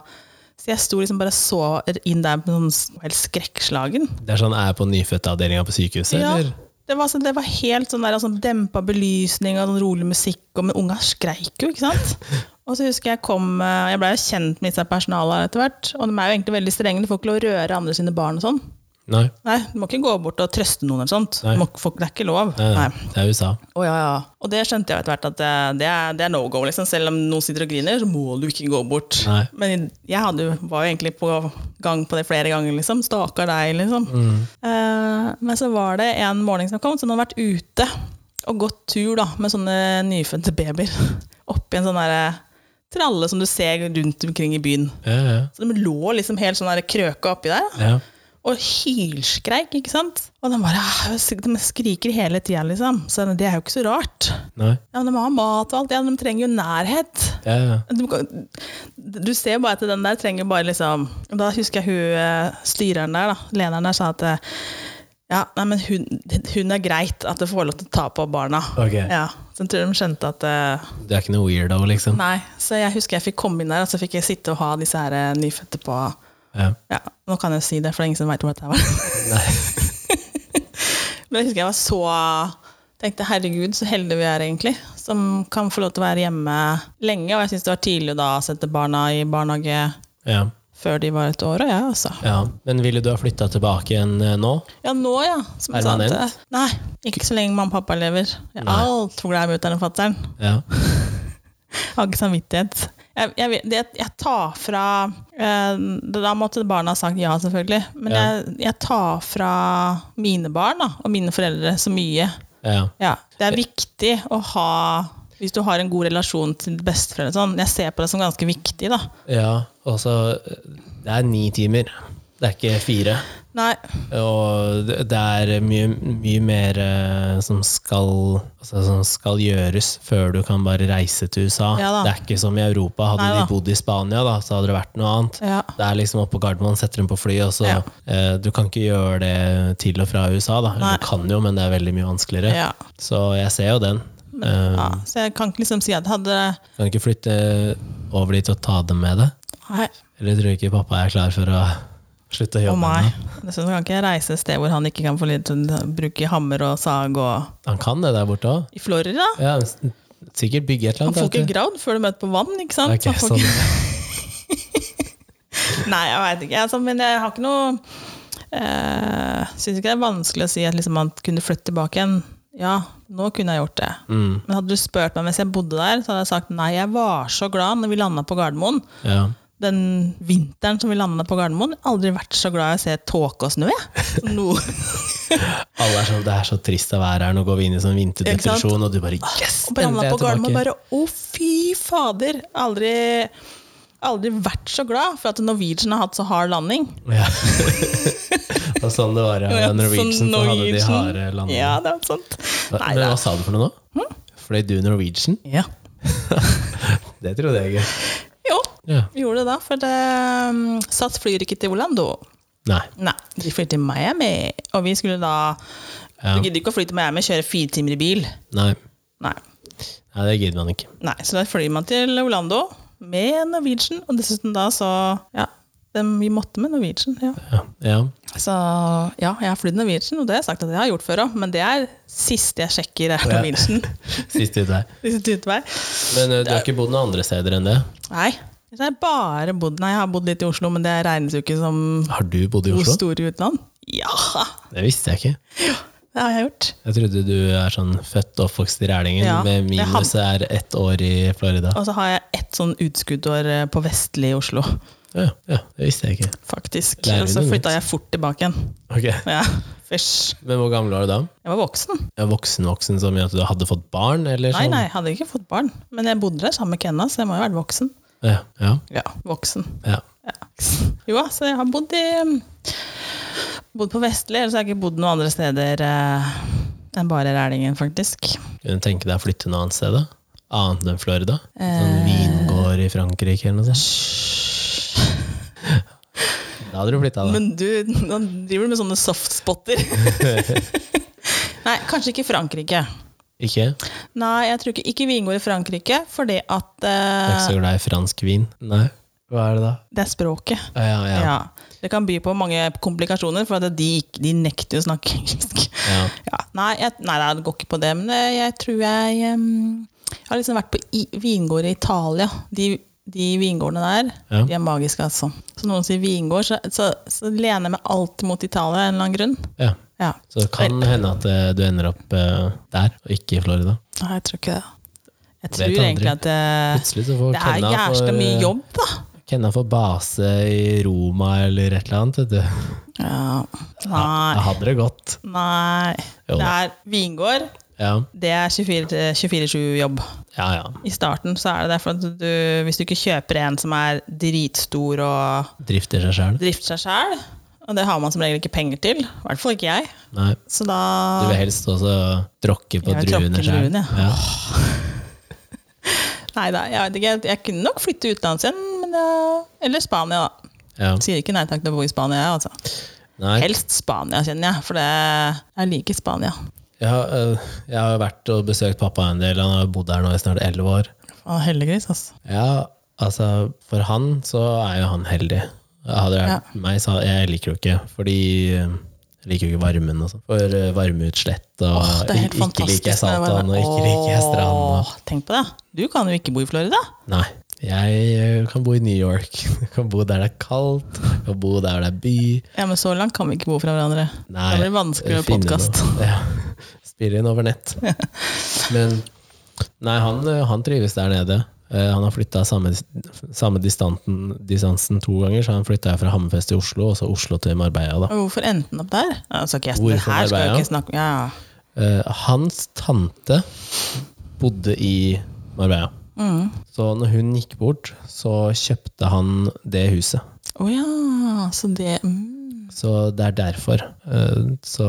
S2: Så jeg sto liksom bare og så inn der med sånn s- helt skrekkslagen.
S1: Det er sånn jeg er på nyfødtavdelinga på sykehuset,
S2: Ja,
S1: eller?
S2: det var, sånn- det var helt sånn der, sånn dempa belysning og sånn rolig musikk, og, men unga skreik jo, ikke sant? Og så husker jeg kom, eh, jeg ble jo kjent med disse personalene etter hvert, og de er jo egentlig veldig strenge, du får ikke lov å røre andre sine barn og sånn.
S1: Nei.
S2: Nei, du må ikke gå bort og trøste noen eller sånt. Du
S1: Nei.
S2: Må, ikke- får- det er ikke lov.
S1: Nei, nei.
S2: Nei.
S1: Det er USA.
S2: Å, ja, ja. Og det skjønte jeg etter hvert at eh, det er, det er no go. Liksom. Selv om noen sitter og griner, så må du ikke gå bort.
S1: Nei.
S2: Men jeg hadde, jo- var jo egentlig på gang på det flere ganger. Liksom. Stakkar deg, liksom. Eh, men så var det en morgen som kom, som hadde vært ute og gått tur da, med sånne nyfødte babyer. Oppi en sånn derre tralle som du ser rundt omkring i byen.
S1: Ja, ja.
S2: Så de lå liksom helt sånn der krøka oppi der.
S1: ja.
S2: Og hylskreik, ikke sant? Og de bare ah, De skriker hele tida, liksom. Så det er jo ikke så rart.
S1: Nei.
S2: Ja, men De har mat og alt, ja, men de trenger jo nærhet.
S1: Ja, ja.
S2: Du, kan- du ser jo bare at den der trenger bare liksom og Da husker jeg hun eh, styreren der, da, lederen der, sa at eh, ja, nei, men hun, hun er greit at det får lov til å ta på barna.
S1: Ok.
S2: Ja, så jeg tror de skjønte at eh,
S1: Du er ikke noe weirdo, liksom?
S2: Nei, så jeg husker jeg fikk komme inn der, og så fikk jeg sitte og ha disse her eh, nyfødte på
S1: Ja.
S2: Ja, nå kan jeg si det, for det er ingen som veit hvor dette var.
S1: Nei.
S2: Men jeg husker jeg var så tenkte herregud, så heldige vi er egentlig, som kan få lov til å være hjemme lenge. Og jeg syns det var tidlig da å sette barna i barnehage
S1: Ja.
S2: før de var et år. Og jeg, altså.
S1: ja. Men ville du ha flytta tilbake igjen eh, nå?
S2: Ja, nå, ja. Som jeg sa at- eh,
S1: Permanent?
S2: Nei, ikke så lenge mamma og pappa lever. Jeg er
S1: Nei.
S2: altfor glad i mutter'n og fatter'n.
S1: Ja.
S2: Har ikke samvittighet. Jeg, jeg, vet- det, jeg tar fra eh, Da måtte barna ha sagt ja, selvfølgelig. Men
S1: Ja.
S2: jeg, jeg tar fra mine barn da, og mine foreldre så mye.
S1: Ja.
S2: Ja, det er viktig å ha Hvis du har en god relasjon til besteforeldre, og sånn, jeg ser på det som ganske viktig, da.
S1: ja. Og så eh, Det er ni timer. Det er ikke fire.
S2: Nei,
S1: Og det det er mye, mye mer eh, som skal, altså, som skal gjøres før du kan bare reise til USA.
S2: Ja da.
S1: det er ikke som i Europa. Hadde
S2: Nei da.
S1: de bodd i Spania, da, så hadde det vært noe annet.
S2: ja.
S1: Det er liksom oppe på Gardermoen, setter dem på fly, og så
S2: Ja.
S1: eh, Du kan ikke gjøre det til og fra USA, da.
S2: Nei.
S1: Eller Du kan jo, men det er veldig mye vanskeligere.
S2: ja,
S1: Så jeg ser jo den. Eh,
S2: ja. Så jeg kan ikke liksom si at hadde
S1: Kan ikke flytte over dit og ta dem med det.
S2: Nei,
S1: Eller tror du ikke pappa er klar for å slutte å
S2: å
S1: jobbe?
S2: meg.
S1: ennå?
S2: Dessuten kan ikke jeg reise et sted hvor han ikke kan få litt, bruke hammer og sag og
S1: Han kan det der borte òg.
S2: I Florida?
S1: Ja, s- sikkert bygge et eller
S2: Han
S1: annet.
S2: får
S1: vet
S2: ikke
S1: du.
S2: graud før du møter på vann, ikke sant?
S1: Ok,
S2: Han får ikke- Nei, jeg veit ikke. Altså, men jeg har ikke noe eh, Syns ikke det er vanskelig å si at liksom, man kunne flytte tilbake igjen. Ja, nå kunne jeg gjort det.
S1: Mm,
S2: Men hadde du spurt meg mens jeg bodde der, så hadde jeg sagt nei, jeg var så glad når vi landa på Gardermoen.
S1: ja.
S2: Den vinteren som vi landa på Gardermoen, jeg har aldri vært så glad i å se tåke og snø. jeg. Som nå.
S1: Alle er sånn, Det er så trist å være her, nå går vi inn i sånn vinterdepresjon, og du bare Yes!
S2: Og bare
S1: endelig
S2: landa
S1: er
S2: på Gardermoen
S1: tilbake.
S2: bare å, fy fader! Aldri, aldri vært så glad for at Norwegian har hatt så hard landing.
S1: Ja. det var sånn det var ja.
S2: Ja,
S1: Norwegian,
S2: sånn
S1: så hadde de
S2: Norwegian.
S1: harde landingene.
S2: Ja, det er sant.
S1: Hva-
S2: Nei, Hm?
S1: Men
S2: det
S1: hva
S2: er
S1: sa du for noe nå? Fløy du Norwegian?
S2: ja.
S1: Det trodde jeg ikke.
S2: Jo,
S1: Ja.
S2: vi gjorde det da, for det, um, SAS flyr ikke til Orlando.
S1: Nei.
S2: Nei, de flyr til Miami. Og vi skulle da
S1: Ja.
S2: Vi gidder ikke å fly til Miami og kjøre fire timer i bil.
S1: Nei.
S2: Nei.
S1: Nei, det gidder man ikke.
S2: Nei, så da flyr man til Orlando med Norwegian, og dessuten da så Ja, dem, vi måtte med Norwegian. ja.
S1: Ja. ja.
S2: Så ja, jeg har flydd Norwegian, og det har jeg sagt at jeg har gjort før òg, men det er siste jeg sjekker, er
S1: Ja.
S2: Norwegian.
S1: Siste utvei.
S2: Siste utvei.
S1: Men ø, du har ikke bodd noen andre steder enn det?
S2: Nei. Jeg har bare bodd, nei, jeg har bodd litt i Oslo, men det regnes jo ikke som
S1: Har du bodd i
S2: to
S1: Oslo?
S2: store utland. Ja,
S1: Det visste jeg ikke.
S2: det har jeg gjort.
S1: Jeg trodde du er sånn født og oppvokst i Rælingen,
S2: Ja,
S1: med
S2: jeg
S1: minus er ett år i Florida.
S2: Og så har jeg ett sånn utskuddår eh, på vestlig Oslo,
S1: Ja, ja, det visste jeg ikke.
S2: faktisk.
S1: Lærer
S2: Og så
S1: du noe
S2: flytta jeg fort tilbake igjen.
S1: Ok,
S2: Ja, fysj.
S1: Men hvor gammel var du da?
S2: Jeg var voksen.
S1: Ja, Voksen voksen som i at du hadde fått barn? Eller
S2: Nei,
S1: sånn?
S2: nei, jeg hadde ikke fått barn. Men jeg bodde der sammen med Kenna, så jeg må jo ha vært voksen.
S1: Ja, ja,
S2: Ja, voksen.
S1: ja.
S2: Ja. Jo, så jeg har bodd i mm, Bodd på Vestli, ellers har jeg ikke bodd noen andre steder eh, enn bare Rælingen, faktisk.
S1: Kunne du tenke deg å flytte noe annet sted? da? Annet enn Florida? Sånn vingård i Frankrike eller noe sånt? Da hadde du flytta deg.
S2: Men du, nå driver du med sånne softspotter. Nei, kanskje ikke Frankrike.
S1: Ikke?
S2: Nei, jeg tror ikke, ikke vingård i Frankrike, fordi at
S1: Jeg er ikke
S2: eh,
S1: så glad i fransk vin. Nei. Hva er det da?
S2: det er språket.
S1: Ja, ja, ja.
S2: Ja. Det kan by på mange komplikasjoner, for at de, ikke- de nekter jo å snakke engelsk.
S1: ja.
S2: Ja, nei, jeg, nei, nei, det går ikke på det, men eh, jeg tror jeg em, Jeg har liksom vært på i, vingårder i Italia. De, de vingårdene der,
S1: Ja.
S2: de er magiske, altså. Så noen sier vingård, så, så, så lener jeg meg alltid mot Italia av en eller annen grunn.
S1: ja.
S2: Ja,
S1: Så det kan hende at eh, du ender opp eh, der, og ikke i Florida.
S2: nei, jeg tror ikke det. Jeg
S1: Vet
S2: tror
S1: aldri.
S2: egentlig at det,
S1: Plutselig så får
S2: det er jævla mye
S1: eh,
S2: jobb, da.
S1: Kenna får base i Roma eller et eller annet. Vet du.
S2: Ja.
S1: Jeg
S2: Nei.
S1: hadde det godt.
S2: nei.
S1: Jo
S2: Det
S1: da.
S2: er vingård.
S1: Ja,
S2: Det er 24 24-7-jobb.
S1: ja. ja.
S2: I starten så er det derfor at du, hvis du ikke kjøper en som er dritstor og
S1: Drifter seg sjøl.
S2: drifter seg sjæl, og det har man som regel ikke penger til, i hvert fall ikke jeg,
S1: Nei.
S2: så
S1: Du vil
S2: da
S1: helst også tråkke på
S2: Jeg vil
S1: druene
S2: tråkke
S1: sjøl.
S2: druene,
S1: Ja.
S2: Nei da, jeg vet ikke. Jeg kunne nok flytte utenlands igjen, men det, eller Spania, da.
S1: Ja.
S2: Sier ikke nei takk til å bo i Spania, jeg, altså.
S1: Nei.
S2: Helst Spania, kjenner jeg, for det, jeg liker Spania.
S1: Jeg har, øh, jeg har vært og besøkt pappa en del. Han har bodd her nå i snart elleve år.
S2: Faen, Heldiggris, altså.
S1: Ja, altså For han så er jo han heldig. Hadde det vært meg, så hadde- jeg liker jo ikke. Fordi øh, jeg liker jo ikke varmen og sånn. For øh, varmeutslett og
S2: Åh, det er helt
S1: Ikke
S2: fantastisk.
S1: liker jeg
S2: når det er
S1: saltvann, og
S2: varme.
S1: ikke liker jeg strand. Og.
S2: Åh, Tenk på det. Du kan jo ikke bo i Florida.
S1: Nei. Jeg øh, kan bo i New York. Jeg kan bo der det er kaldt. Jeg kan bo der det er by.
S2: Ja, men så langt kan vi ikke bo fra hverandre.
S1: Nei,
S2: det blir vanskeligere
S1: finne
S2: podkast.
S1: noe. Ja. Spille inn over nett. Men nei, han, eh, han trives der nede. Eh, Han har flytta samme, samme distanten, distansen to ganger, så han flytta fra Hammerfest til Oslo, og så Oslo til Marbella. Da.
S2: Og Hvorfor endte den opp der? Ja, altså, så ikke jeg, det
S1: Hvorfor
S2: her skal jeg
S1: Marbella?
S2: ikke snakke ja.
S1: Eh, Hans tante bodde i Marbella.
S2: Mm.
S1: Så når hun gikk bort, så kjøpte han det huset.
S2: Å ja, så det mm.
S1: Så det er derfor. Eh, Så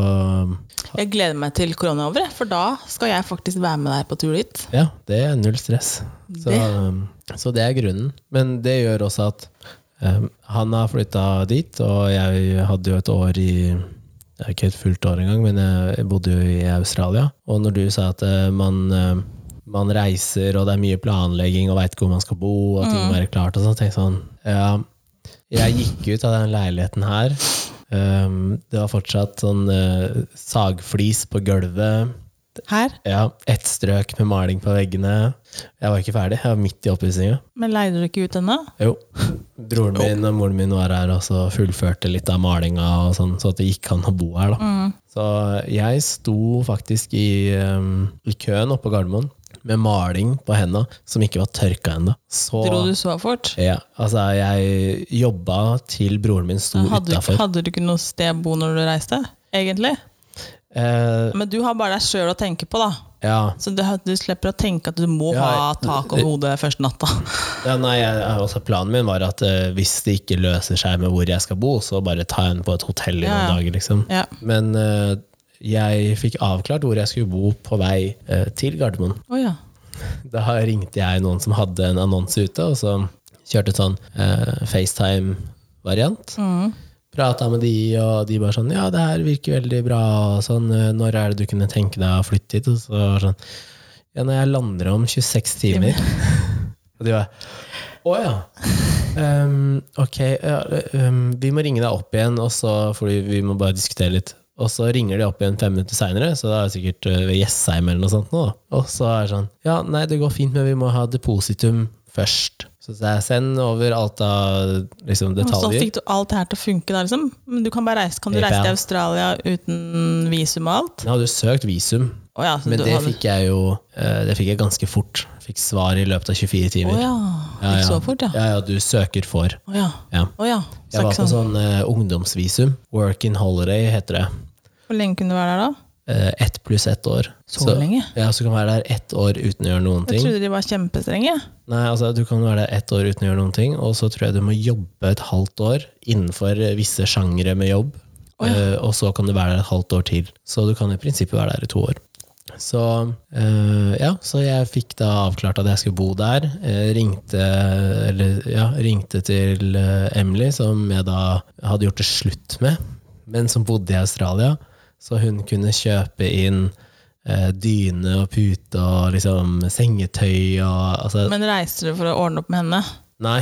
S2: Jeg gleder meg til korona er over, jeg, for da skal jeg faktisk være med deg på tur dit.
S1: Ja, det er null stress. Så
S2: Det.
S1: um, så det er grunnen. Men det gjør også at um, han har flytta dit, og jeg hadde jo et år i det er ikke et fullt år engang, men jeg jeg bodde jo i Australia. Og når du sa at eh, man, eh, man reiser, og det er mye planlegging, og veit ikke hvor man skal bo, og ting må være klart, og sånn, tenkte jeg sånn Ja, jeg gikk ut av den leiligheten her. Um, det var fortsatt sånn eh, sagflis på uh, gulvet.
S2: Her?
S1: Ja, ett strøk med maling på veggene. Jeg var ikke ferdig, jeg var midt i oppussinga.
S2: Men leide du ikke ut ennå?
S1: Jo. Broren min og moren min var her og så fullførte litt av malinga, og sånn, så at det gikk an å bo her. da.
S2: Mm.
S1: Så jeg sto faktisk i, um, i køen oppe på Gardermoen med maling på henda som ikke var tørka ennå. Så
S2: Dro du så fort?
S1: ja, altså, jeg jobba til broren min sto
S2: Hadde, du-
S1: utafor.
S2: hadde du ikke noe sted å bo når du reiste? Egentlig?
S1: Eh,
S2: Men du har bare deg sjøl å tenke på, da.
S1: ja.
S2: Så du, du slipper å tenke at du må
S1: Ja,
S2: ha tak over hodet første natta.
S1: ja, nei, jeg, altså, planen min var at eh, hvis det ikke løser seg med hvor jeg skal bo, så bare ta en på et hotell i noen
S2: Ja, ja.
S1: dager, liksom.
S2: Ja.
S1: Men eh, jeg fikk avklart hvor jeg skulle bo på vei eh, til Gardermoen.
S2: Å ja.
S1: Da ringte jeg noen som hadde en annonse ute, og så kjørte et sånn eh, FaceTime-variant.
S2: Mm.
S1: Prata med de, og de bare sånn Ja, det her virker veldig bra, og sånn. eh, Når er det du kunne tenke deg å flytte hit? Og så var det sånn Ja, når jeg lander om 26 timer. og de bare Å ja. Ehm, ok, ja, ehm, vi må ringe deg opp igjen, og så, fordi vi må bare diskutere litt. Og så ringer de opp igjen fem minutter seinere, så det er sikkert eh, ved Jessheim eller noe sånt. nå. da. Og så er det sånn Ja, nei, det går fint, men vi må ha depositum først. Så sa jeg send over alt av liksom,
S2: Og Så
S1: detaljer.
S2: fikk du alt det her til å funke, da, liksom. Men du kan bare reise Kan du
S1: Ja.
S2: reise til Australia uten visum og alt?
S1: Jeg hadde jo søkt visum,
S2: Å ja, så
S1: men
S2: du
S1: det
S2: hadde-
S1: fikk jeg jo eh, Det fikk jeg ganske fort. Fikk svar i løpet av 24
S2: Å
S1: timer.
S2: ja.
S1: Ja,
S2: Gikk så
S1: ja.
S2: fort, ja.
S1: ja, ja, du søker for.
S2: Å ja.
S1: Ja.
S2: Å ja. Så
S1: Jeg var
S2: ikke
S1: på
S2: sånn.
S1: sånn eh, ungdomsvisum. Work in holiday heter det.
S2: Hvor lenge kunne du være der, da?
S1: Eh, ett pluss ett år.
S2: Så lenge?
S1: Ja, så du kan være der ett år uten å gjøre noen ting.
S2: Jeg trodde de var kjempestrenge.
S1: Nei, altså Du kan være der ett år uten å gjøre noen ting, og så tror jeg du må jobbe et halvt år innenfor eh, visse sjangre med jobb. Eh, og så kan du være der et halvt år til. Så du kan i prinsippet være der i to år. Så eh, ja, så jeg fikk da avklart at jeg skulle bo der. Eh, ringte, eller, ja, ringte til eh, Emily, som jeg da hadde gjort det slutt med, men som bodde i Australia. Så hun kunne kjøpe inn eh, dyne og pute og liksom sengetøy og altså,
S2: Men reiste du for å ordne opp med henne?
S1: Nei.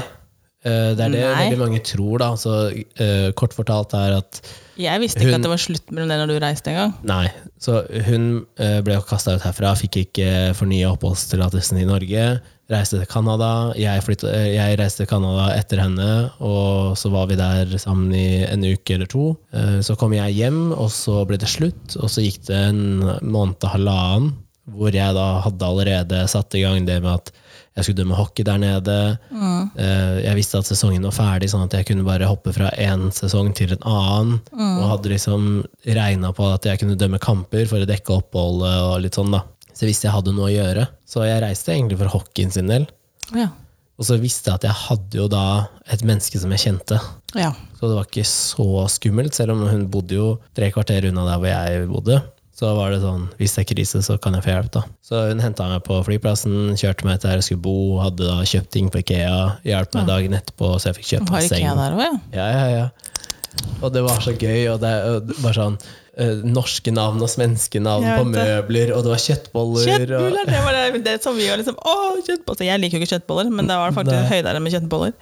S1: Eh, Det er det
S2: Nei.
S1: veldig mange tror, da. Så, eh, kort fortalt er at
S2: Jeg visste ikke
S1: Hun-
S2: at det var slutt mellom det når du reiste en gang.
S1: nei. Så hun eh, ble kasta ut herfra, fikk ikke fornya oppholdstillatelsen i Norge. Reiste til Canada. Jeg, flytta- eh, jeg reiste til Canada etter henne, og så var vi der sammen i en uke eller to. Eh, Så kom jeg hjem, og så ble det slutt. Og så gikk det en måned og halvannen hvor jeg da hadde allerede satt i gang det med at jeg skulle dømme hockey der nede. Eh, Jeg visste at sesongen var ferdig, sånn at jeg kunne bare hoppe fra én sesong til en annen. Og hadde liksom regna på at jeg kunne dømme kamper for å dekke oppholdet og litt sånn, da. Så jeg visste jeg hadde noe å gjøre. Så jeg reiste egentlig for hockeyen sin del.
S2: Å ja.
S1: Og så visste jeg at jeg hadde jo da et menneske som jeg kjente.
S2: Å ja.
S1: Så det var ikke så skummelt, selv om hun bodde jo tre kvarter unna der hvor jeg bodde. Så var det sånn, hvis det er krise, så kan jeg få hjelp, da. Så hun henta meg på flyplassen, kjørte meg til jeg skulle bo, hadde da kjøpt ting på Ikea, hjalp meg dagen etterpå, så jeg fikk kjøpt
S2: Har
S1: en
S2: ikke
S1: seng.
S2: jeg der òg, ja?
S1: Ja, ja, ja. Og det var så gøy. Og det og det var sånn eh, Norske navn og svenske navn
S2: Jeg
S1: på
S2: vet
S1: møbler, og det var kjøttboller. og,
S2: Kjøttboller! Det var det, det som vi var liksom Å, kjøttboller! Jeg liker jo ikke kjøttboller, men det var faktisk høydere med kjøttboller.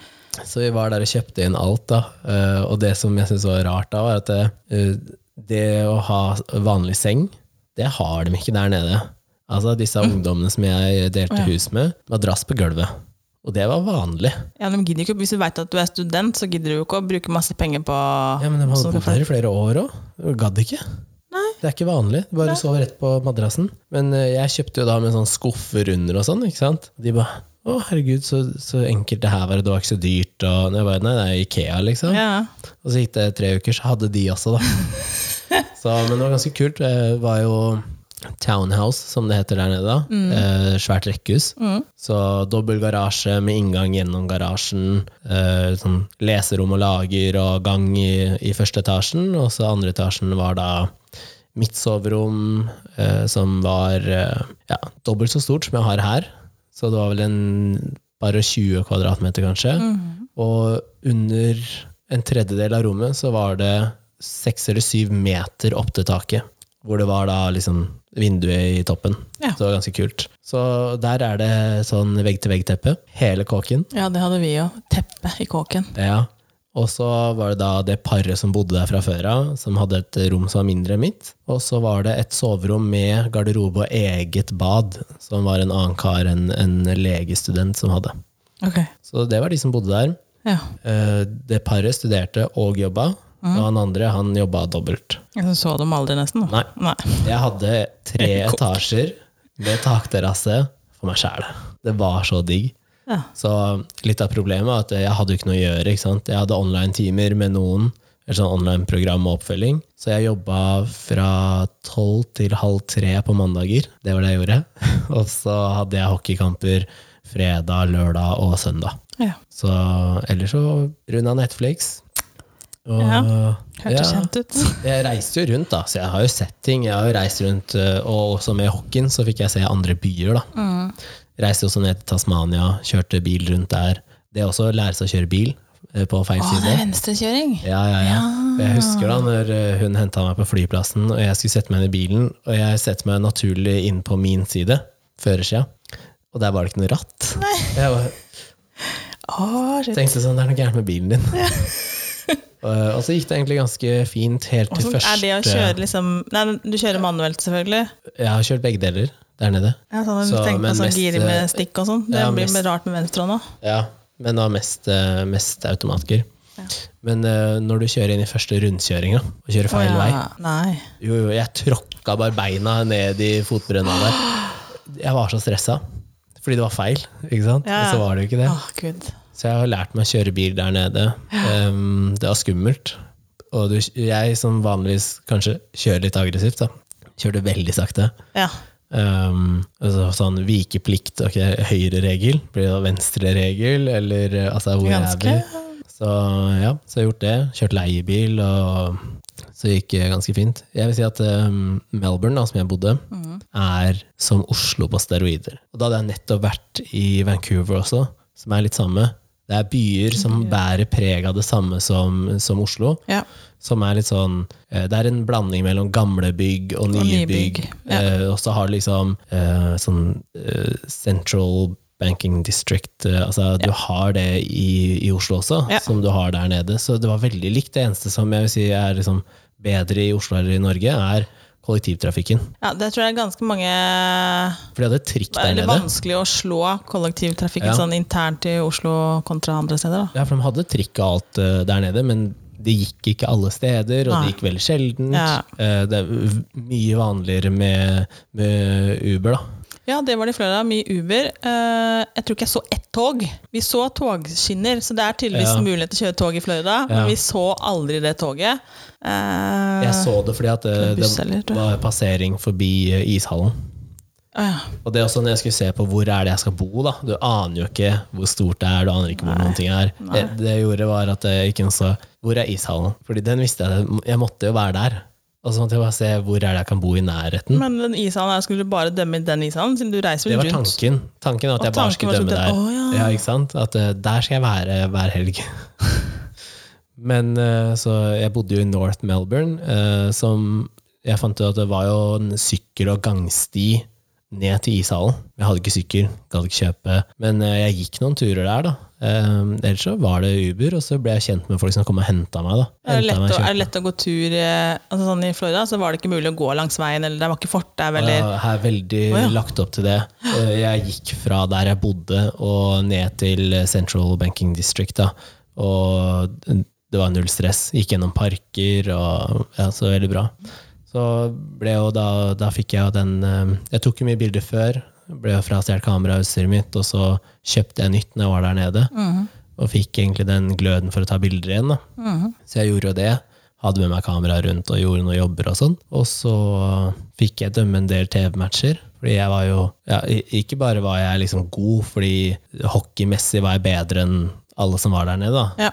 S1: Så vi var der og kjøpte inn alt, da. Eh, og det som jeg syntes var rart da, var at eh, det å ha vanlig seng, det har de ikke der nede. Altså disse ungdommene som jeg delte
S2: Mm. Å, ja.
S1: hus med, madrass på gulvet. Og det var vanlig.
S2: Ja, de gidder ikke, Hvis du veit at du er student, så gidder du jo ikke å bruke masse penger på
S1: Ja, men de hadde
S2: som du
S1: bodd
S2: får-
S1: der i flere år òg. Gadd ikke.
S2: Nei.
S1: Det er ikke vanlig. Du Bare sov rett på madrassen. Men eh, jeg kjøpte jo da med sånn skuffer under og sånn, ikke sant. De bare å, herregud, så, så enkelt det her var, og det var ikke så dyrt. Og jeg bare, nei, det er Ikea, liksom.
S2: Ja.
S1: Og så gikk det tre uker, så hadde de også, da. Så, men det var ganske kult. Det var jo townhouse, som det heter der nede. da. Eh, svært rekkehus. Så dobbel garasje med inngang gjennom garasjen. Eh, sånn leserom og lager og gang i, i første etasjen. Og så andre etasjen var da mitt soverom, eh, som var eh, ja, dobbelt så stort som jeg har her. Så det var vel en bare 20 kvadratmeter, kanskje. Og under en tredjedel av rommet så var det seks eller syv meter opp til taket. Hvor det var da liksom vinduet i toppen.
S2: Ja.
S1: Så det var ganske kult. Så der er det sånn vegg-til-vegg-teppe. Hele kåken.
S2: ja, det hadde vi jo. Teppe i kåken.
S1: Ja. Og så var det da det paret som bodde der fra før av, som hadde et rom som var mindre enn mitt. Og så var det et soverom med garderobe og eget bad, som var en annen kar enn en legestudent som hadde.
S2: Ok.
S1: Så det var de som bodde der.
S2: Ja.
S1: Eh, Det paret studerte og jobba, og han andre han jobba dobbelt.
S2: Jeg så dem aldri, nesten. Da.
S1: Nei. Jeg hadde tre
S2: Helt kokk.
S1: etasjer med takterrasse for meg sjæl. Det var så digg.
S2: Ja.
S1: Så litt av problemet var at jeg hadde jo ikke noe å gjøre. ikke sant? Jeg hadde online-timer med noen, eller sånn online-program og oppfølging. Så jeg jobba fra tolv til halv tre på mandager. Det var det jeg gjorde. Og så hadde jeg hockeykamper fredag, lørdag og søndag.
S2: ja.
S1: Så ellers så runda Netflix. Og,
S2: Ja,
S1: ja.
S2: Hørtes kjent ut.
S1: Jeg reiste jo rundt, da, så jeg har jo sett ting. Jeg har jo reist rundt, eh, Og også med hockeyen så fikk jeg se andre byer. da.
S2: Mm.
S1: Reiste også ned til Tasmania, kjørte bil rundt der. Det er også å lære seg å kjøre bil eh, på feil
S2: Å, det
S1: side.
S2: er venstrekjøring!
S1: Ja, ja, ja. Og Jeg husker da når eh, hun henta meg på flyplassen, og jeg skulle sette meg inn i bilen, og jeg setter meg naturlig inn på min side, førersida, og der var det ikke noe ratt. Jeg var,
S2: Å, shit.
S1: tenkte sånn, det er noe gærent med bilen din. Eh, og så gikk det egentlig ganske fint helt til
S2: Hvordan
S1: første
S2: sånn er det å kjøre liksom Nei, men du kjører manuelt, selvfølgelig.
S1: Jeg har kjørt begge deler der nede.
S2: Ja, sånn,
S1: Så,
S2: tenk på
S1: men
S2: sånn
S1: mest, eh,
S2: gir med stikk og sånn. Det
S1: ja,
S2: blir
S1: mest-
S2: rart med venstrehånda.
S1: Ja, men det var mest, eh, mest automatgir.
S2: Ja.
S1: Men eh, når du kjører inn i første rundkjøringa og kjører feil
S2: Å,
S1: vei
S2: ja. Nei.
S1: Jo, jo, jeg tråkka bare beina ned i fotbrønna der. Jeg var så stressa. Fordi det var feil, ikke sant?
S2: Ja.
S1: Og så var det jo ikke det.
S2: Å, gud.
S1: Så jeg har lært meg å kjøre bil der nede. Ehm, det var skummelt. Og du, jeg som vanligvis kanskje kjører litt aggressivt, da. Kjørte veldig sakte.
S2: Ja.
S1: Ehm, altså, sånn vikeplikt, ok, høyre regel, blir det da venstre regel, eller eh, altså hvor
S2: Ganske.
S1: er vi? Så ja, så jeg har gjort det. Kjørt leiebil, og så gikk det ganske fint. Jeg vil si at ehm, Melbourne, da, som jeg bodde, er som Oslo på steroider. Og da hadde jeg nettopp vært i Vancouver også, som er litt samme. Det er byer som bærer preg av det samme som, som Oslo
S2: Ja.
S1: som er litt sånn eh, Det er en blanding mellom gamle bygg og nye,
S2: nye
S1: bygg.
S2: bygg, ja.
S1: Eh, Og så har du liksom eh, sånn eh, Central Banking District eh, Altså du har det i, i Oslo også,
S2: Ja.
S1: som du har der nede. Så det var veldig likt. Det eneste som jeg vil si er liksom bedre i Oslo eller i Norge, er kollektivtrafikken.
S2: ja. Det tror jeg er ganske mange
S1: For de hadde trikk
S2: Det er
S1: der
S2: veldig
S1: nede.
S2: vanskelig å slå kollektivtrafikken
S1: Ja.
S2: sånn internt i Oslo kontra andre steder. Da.
S1: Ja, for de hadde trikk og alt eh, der nede, men det gikk ikke alle steder, og
S2: Nei.
S1: det gikk veldig sjeldent.
S2: Ja.
S1: Eh, Det er v- mye vanligere med, med Uber, da.
S2: Ja, det var det flere av. Mye Uber. Eh, jeg tror ikke jeg så ett tog. Vi så togskinner, så det er tydeligvis
S1: Ja.
S2: mulighet til å kjøre tog i Florida,
S1: Ja.
S2: men vi så aldri det toget. Eh,
S1: Jeg så det fordi at eh,
S2: Eller buss, eller,
S1: det
S2: tror jeg.
S1: var passering forbi eh, ishallen.
S2: å ja.
S1: Og det er også når jeg skulle se på hvor er det jeg skal bo, da. Du aner jo ikke hvor stort det er, du aner ikke hvor noen ting er. Det, det jeg gjorde, var at jeg ikke så hvor er ishallen? Fordi den visste jeg, jeg måtte jo være der. Og så måtte jeg bare se hvor er det jeg kan bo i nærheten.
S2: Men den ishallen her, skulle du bare dømme den ishallen, siden du reiser
S1: Det
S2: vel
S1: var
S2: rundt?
S1: tanken. Tanken var at
S2: Og
S1: jeg bare
S2: tanken
S1: skulle
S2: var
S1: dømme
S2: sånn,
S1: der.
S2: «Å, ja.»
S1: ikke sant? At eh, der skal jeg være hver helg. Men eh, så jeg bodde jo i North Melbourne, eh, som jeg fant ut at det var jo en sykkel- og gangsti ned til ishallen. Jeg hadde ikke sykkel, gadd ikke kjøpe, men eh, jeg gikk noen turer der, da. Eh, Ellers så var det Uber, og så ble jeg kjent med folk som kom og henta meg, da.
S2: Er
S1: Hentet
S2: det, lett
S1: meg
S2: å,
S1: og kjørte
S2: er det lett å gå tur eh, altså sånn I Florida så var det ikke mulig å gå langs veien, eller det var ikke fortau, eller
S1: Ja, Eh, her er veldig
S2: Å, ja.
S1: lagt opp til det. Eh, Jeg gikk fra der jeg bodde og ned til eh, Central Banking District. Da. Og det var null stress. Gikk gjennom parker og ja, så veldig bra. Så ble jo da, da fikk jeg jo den eh, Jeg tok jo mye bilder før. Ble jo frastjålet kameraet og utstyret mitt, og så kjøpte jeg nytt når jeg var der nede.
S2: Mhm.
S1: Og fikk egentlig den gløden for å ta bilder igjen. da.
S2: Mhm.
S1: Så jeg gjorde jo det. Hadde med meg kamera rundt og gjorde noen jobber og sånn. Og så fikk jeg dømme en del TV-matcher. Fordi jeg var jo ja, i- Ikke bare var jeg liksom god, fordi hockeymessig var jeg bedre enn alle som var der nede, da.
S2: Ja.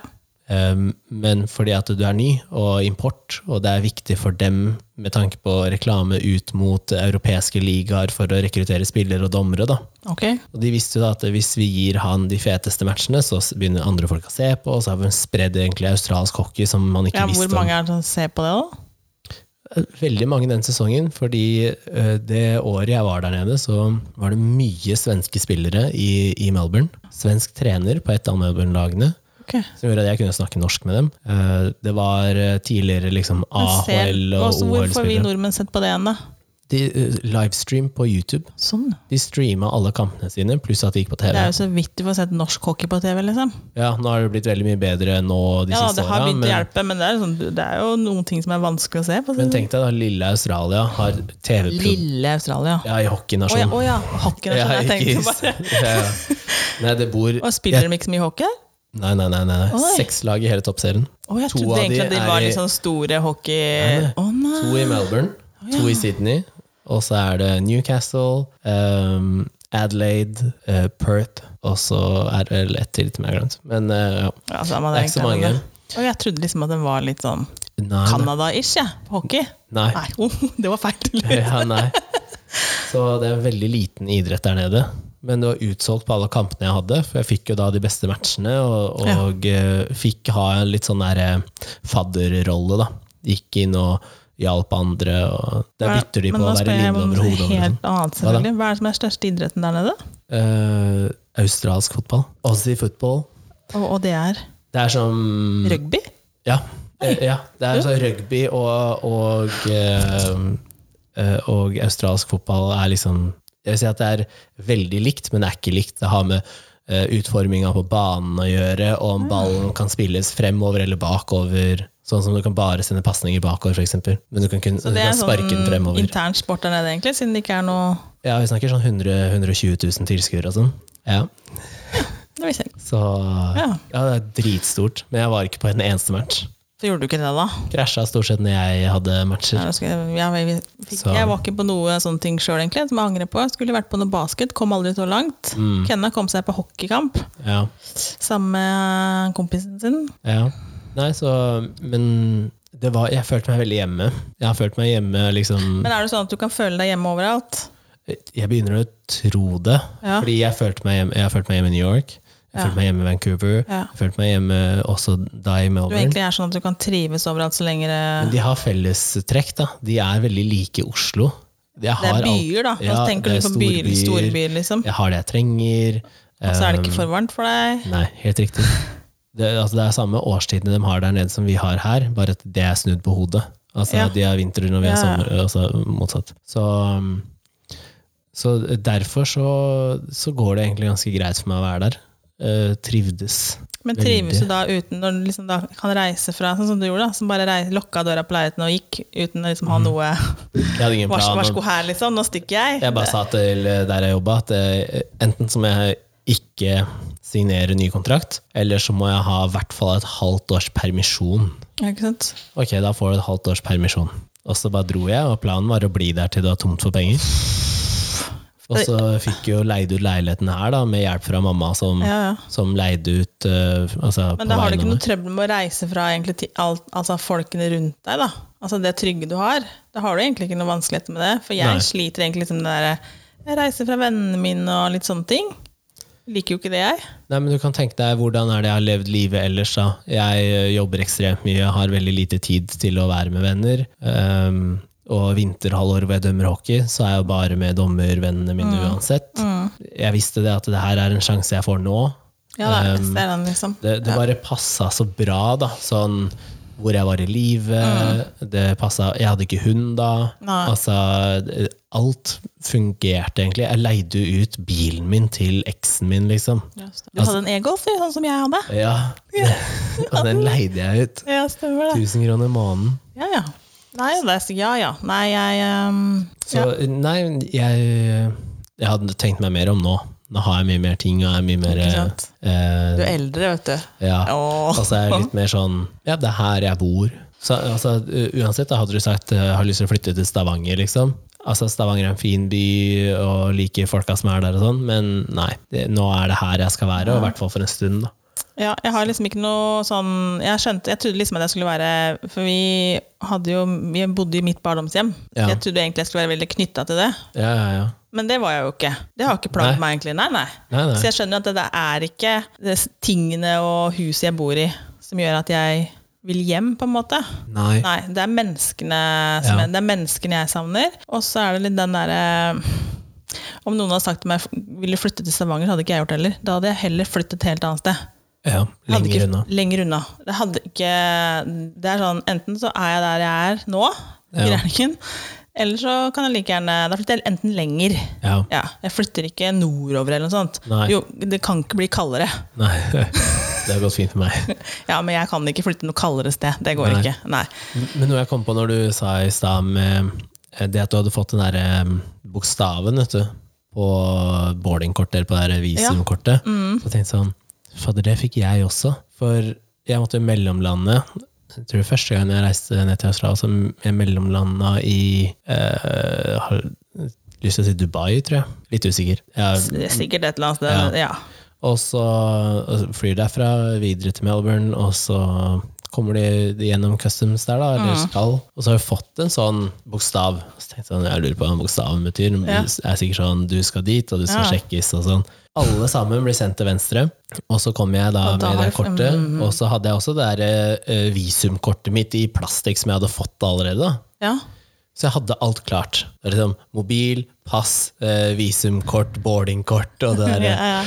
S1: Um, men fordi at du er ny og import, og det er viktig for dem med tanke på reklame ut mot europeiske ligaer for å rekruttere spillere og dommere, da.
S2: Ok.
S1: Og de visste jo da at hvis vi gir han de feteste matchene, så begynner andre folk å se på, og så har vi spredd egentlig australsk hockey som man ikke
S2: Ja,
S1: visste
S2: hvor
S1: om.
S2: mange er det som ser på det, da?
S1: Veldig mange den sesongen, fordi eh, det året jeg var der nede, så var det mye svenske spillere i, i Melbourne. Svensk trener på et av Melbourne-lagene.
S2: Ok.
S1: som gjorde at jeg kunne snakke norsk med dem. Eh, Det var eh, tidligere liksom
S2: Jeg ser-
S1: AHL- og
S2: Også, hvorfor får vi
S1: OL-spillere.
S2: nordmenn sett på det igjen, da?
S1: De eh, livestream på YouTube.
S2: Sånn.
S1: De streama alle kampene sine, pluss at de gikk på
S2: Det
S1: TV.
S2: er jo så vidt du får sett norsk hockey på TV, liksom.
S1: Ja, Nå har det blitt veldig mye bedre nå de
S2: Ja,
S1: siste
S2: det har
S1: åra.
S2: begynt å
S1: Men,
S2: hjelpe, men det er, sånn, det er jo noen ting som er vanskelig å se. på.
S1: men tenk deg da, lille Australia har TV-program
S2: Lille Australia.
S1: ja, i
S2: Å ja,
S1: hockeynasjon.
S2: å ja. Hockey,
S1: Ja,
S2: jeg
S1: ikke
S2: tenkte
S1: is.
S2: bare.
S1: Ja, ja. Nei, det bor
S2: Og spiller de ikke så mye hockey?
S1: Nei, nei, nei. nei, nei.
S2: Oi.
S1: Seks lag i hele toppserien.
S2: Å, jeg
S1: To
S2: trodde
S1: av
S2: egentlig
S1: de
S2: at de
S1: er
S2: var
S1: i-
S2: litt sånn store hockey...
S1: nei.
S2: Å nei!
S1: To i Melbourne, to i Sydney, og så er det Newcastle, ehm, Adelaide, eh, Perth, og så er det vel ett til som jeg har glemt. Men eh, ja.
S2: Ja, så man
S1: Det er ikke så
S2: egentlig-
S1: mange.
S2: Å, jeg trodde liksom at den var litt sånn
S1: Nei, nei.
S2: Canada-ish, jeg, på hockey.
S1: nei.
S2: Nei, oh, det var feil.
S1: Ja, nei. Så det er en veldig liten idrett der nede. Men det var utsolgt på alle kampene jeg hadde, for jeg fikk jo da de beste matchene, og, og eh, fikk ha en litt sånn der eh, fadderrolle, da. Gikk inn og hjalp andre, og der bytter de på
S2: Men nå
S1: å
S2: spør
S1: være
S2: jeg
S1: linde
S2: om
S1: over
S2: noe
S1: hodet. over sånn.
S2: Helt annet, selvfølgelig. Hva er det som er største idretten der nede?
S1: Eh, australsk fotball. Aussie football.
S2: Og, og det er
S1: Det er som
S2: rugby?
S1: Ja. eh, ja det er sånn rugby og og, eh, eh, og australsk fotball er liksom Jeg vil si at det er veldig likt, men det er ikke likt. Det har med eh, utforminga på banen å gjøre, og
S2: Ah.
S1: om ballen kan spilles fremover eller bakover. Sånn som du kan bare sende pasninger bakover, f.eks. Men du kan, kun,
S2: Så
S1: du
S2: det er
S1: kan sparke den
S2: sånn
S1: fremover.
S2: intern sport der nede, egentlig, siden det ikke er noe
S1: Ja, vi snakker sånn 100 120 000 tilskuere og sånn. Ja.
S2: Det visste jeg ikke.
S1: Så ja.
S2: Ja.
S1: det er dritstort. Men jeg var ikke på en eneste match.
S2: Så gjorde du ikke det, da?
S1: Krasja stort sett når jeg hadde matcher.
S2: Nei, da skulle Jeg, jeg, jeg, fikk,
S1: Så-
S2: jeg var ikke på noe sånne ting sjøl, egentlig, som jeg angrer på. Jeg skulle vært på noe basket, kom aldri så langt.
S1: Mm.
S2: Kenna kom seg på hockeykamp
S1: Ja.
S2: sammen med kompisen sin.
S1: ja. Nei, så Men det var Jeg følte meg veldig hjemme. Jeg har følt meg hjemme, liksom
S2: Men er det sånn at du kan føle deg hjemme overalt?
S1: Jeg begynner å tro det.
S2: Ja.
S1: Fordi jeg følte meg hjemme, jeg har følt meg hjemme i New York. Jeg
S2: Ja.
S1: følte meg hjemme i Vancouver.
S2: Ja.
S1: Jeg følte meg hjemme også da i
S2: Du
S1: Melbourne.
S2: egentlig er sånn at du kan trives overalt så lenge
S1: Men
S2: det,
S1: de har fellestrekk, da. De er veldig like Oslo. Jeg
S2: det
S1: har
S2: er
S1: alt-
S2: byer, da.
S1: Ja,
S2: Nå tenker
S1: det
S2: du
S1: er
S2: på byer,
S1: storbyer.
S2: storbyer, liksom.
S1: Jeg har det jeg trenger.
S2: Og så er det
S1: Um,
S2: ikke for varmt for deg.
S1: Nei, helt riktig. Det, altså, det er samme årstidene de har der nede som vi har her, bare at det er snudd på hodet. Altså
S2: Ja.
S1: de har vinter når vi har
S2: Ja, ja.
S1: sommer, altså motsatt. Så, um, så derfor så, så går det egentlig ganske greit for meg å være der. Eh, trivdes.
S2: Men
S1: Veldig.
S2: trives du da uten når du liksom da kan reise fra sånn som du gjorde, da, som bare reis, lokka døra på leiligheten og gikk uten å liksom
S1: Mhm.
S2: ha noe
S1: Jeg hadde ingen
S2: vars,
S1: plan. og-
S2: varsko her, liksom. Nå stikker jeg.
S1: Jeg bare sa til der jeg jobba at eh, enten så må jeg ikke signere ny kontrakt, eller så må jeg ha i hvert fall et halvt års permisjon.
S2: Ja, ikke sant?
S1: Ok, da får du et halvt års permisjon. Og så bare dro jeg, og planen var å bli der til det var tomt for penger. Og så fikk jeg jo leid ut leiligheten her, da, med hjelp fra mamma, som,
S2: Ja, ja.
S1: som leide ut eh, altså,
S2: Men
S1: på
S2: da har
S1: vegne
S2: du ikke
S1: av
S2: noe
S1: meg.
S2: trøbbel med å reise fra egentlig til alt, altså folkene rundt deg, da. Altså det trygge du har. Da har du egentlig ikke noe vanskeligheter med det. For jeg
S1: Nei.
S2: sliter egentlig liksom det derre Jeg reiser fra vennene mine og litt sånne ting. Liker jo ikke det, jeg.
S1: Nei, men du kan tenke deg hvordan er det jeg har levd livet ellers, da. Jeg eh, jobber ekstremt mye, har veldig lite tid til å være med venner. Ehm, og vinterhalvår hvor jeg dømmer hockey, så er jeg jo bare med dommervennene mine
S2: Mm.
S1: uansett. Jeg visste det at det her er en sjanse jeg får nå.
S2: Ja, det
S1: Ehm,
S2: er best, det er den, liksom.
S1: Det, det bare passa så bra, da. Sånn hvor jeg var i live. Det passa Jeg hadde ikke hund da.
S2: Mm. Nei.
S1: Altså, alt fungerte egentlig. Jeg leide jo ut bilen min til eksen min, liksom.
S2: Ja, stemmer. Du hadde en e-golf, du, sånn som jeg hadde.
S1: Ja. Og den leide jeg ut.
S2: Ja, stemmer det.
S1: 1000 kroner i måneden.
S2: Ja, ja. Nei, det er, ja, ja. Nei, jeg ehm,
S1: Så nei, jeg, jeg hadde tenkt meg mer om nå. Nå har jeg mye mer ting, og jeg er mye mer
S2: Ikke sant?
S1: eh,
S2: Du er eldre, vet du.
S1: Ja.
S2: Åh.
S1: Altså jeg er litt mer sånn Ja, det er her jeg bor. Så, altså, u- uansett, da hadde du sagt eh, jeg har lyst til å flytte til Stavanger, liksom. Altså, Stavanger er en fin by og liker folka som er der og sånn, men nei. Det, nå er det her jeg skal være, og i hvert fall for en stund, da.
S2: Ja, jeg har liksom ikke noe sånn Jeg skjønte, jeg trodde liksom at jeg skulle være For vi hadde jo Vi bodde i mitt barndomshjem.
S1: Ja.
S2: Jeg trodde egentlig jeg skulle være veldig knytta til det,
S1: Ja, ja, ja.
S2: men det var jeg jo ikke. Det har ikke plaget
S1: Nei.
S2: meg, egentlig. Nei, nei.
S1: Nei,
S2: Så
S1: nei.
S2: jeg skjønner at det der er ikke det s- tingene og huset jeg bor i, som gjør at jeg vil hjem, på en måte.
S1: nei.
S2: Nei, det er menneskene som
S1: Ja.
S2: jeg, det er menneskene jeg savner. Og så er det litt den derre Om noen hadde sagt til meg ville du flytte til Stavanger, så hadde ikke jeg gjort det heller. Da hadde jeg heller flyttet et helt annet sted.
S1: Ja,
S2: Hadde
S1: lenger
S2: ikke-
S1: unna.
S2: Lenger unna. Det hadde ikke Det er sånn, enten så er jeg der jeg er nå, i
S1: Ja.
S2: Rælingen, eller så kan jeg like gjerne Da flytter jeg enten lenger.
S1: Ja.
S2: Ja, jeg flytter ikke nordover eller noe sånt.
S1: Nei.
S2: Jo, det kan ikke bli kaldere.
S1: Nei, det har gått fint for meg.
S2: Ja, men jeg kan ikke flytte noe kaldere sted. Det går
S1: Nei.
S2: ikke. Nei.
S1: Men noe jeg kom på når du sa i stad med eh, det at du hadde fått den der eh, bokstaven vet du, på boardingkortet eller på det der visumkortet, så tenkte jeg sånn Fader, det fikk jeg også. For jeg måtte jo mellomlande. Jeg tror det var første gang jeg reiste ned til Australia, så jeg mellomlanda i eh, har lyst til å si Dubai, tror jeg. Litt usikker. Jeg,
S2: Det er sikkert et eller annet
S1: Ja.
S2: sted. Ja.
S1: og så flyr derfra videre til Melbourne, og så kommer de gjennom customs der, da, eller
S2: Mm.
S1: skal. Og så har jeg fått en sånn bokstav. Så tenkte jeg sånn, jeg lurer på hva den bokstaven betyr. Det
S2: Ja.
S1: er sikkert sånn du skal dit, og du skal
S2: Ja.
S1: sjekkes og sånn. Alle sammen blir sendt til venstre, og så kom jeg da
S2: Og da Mm.
S1: med det
S2: har du-
S1: kortet. Og så hadde jeg også det der eh, visumkortet mitt i plastikk som jeg hadde fått allerede. da.
S2: ja.
S1: Så jeg hadde alt klart. Det var Liksom, mobil, pass, eh, visumkort, boardingkort og det der.
S2: ja, ja.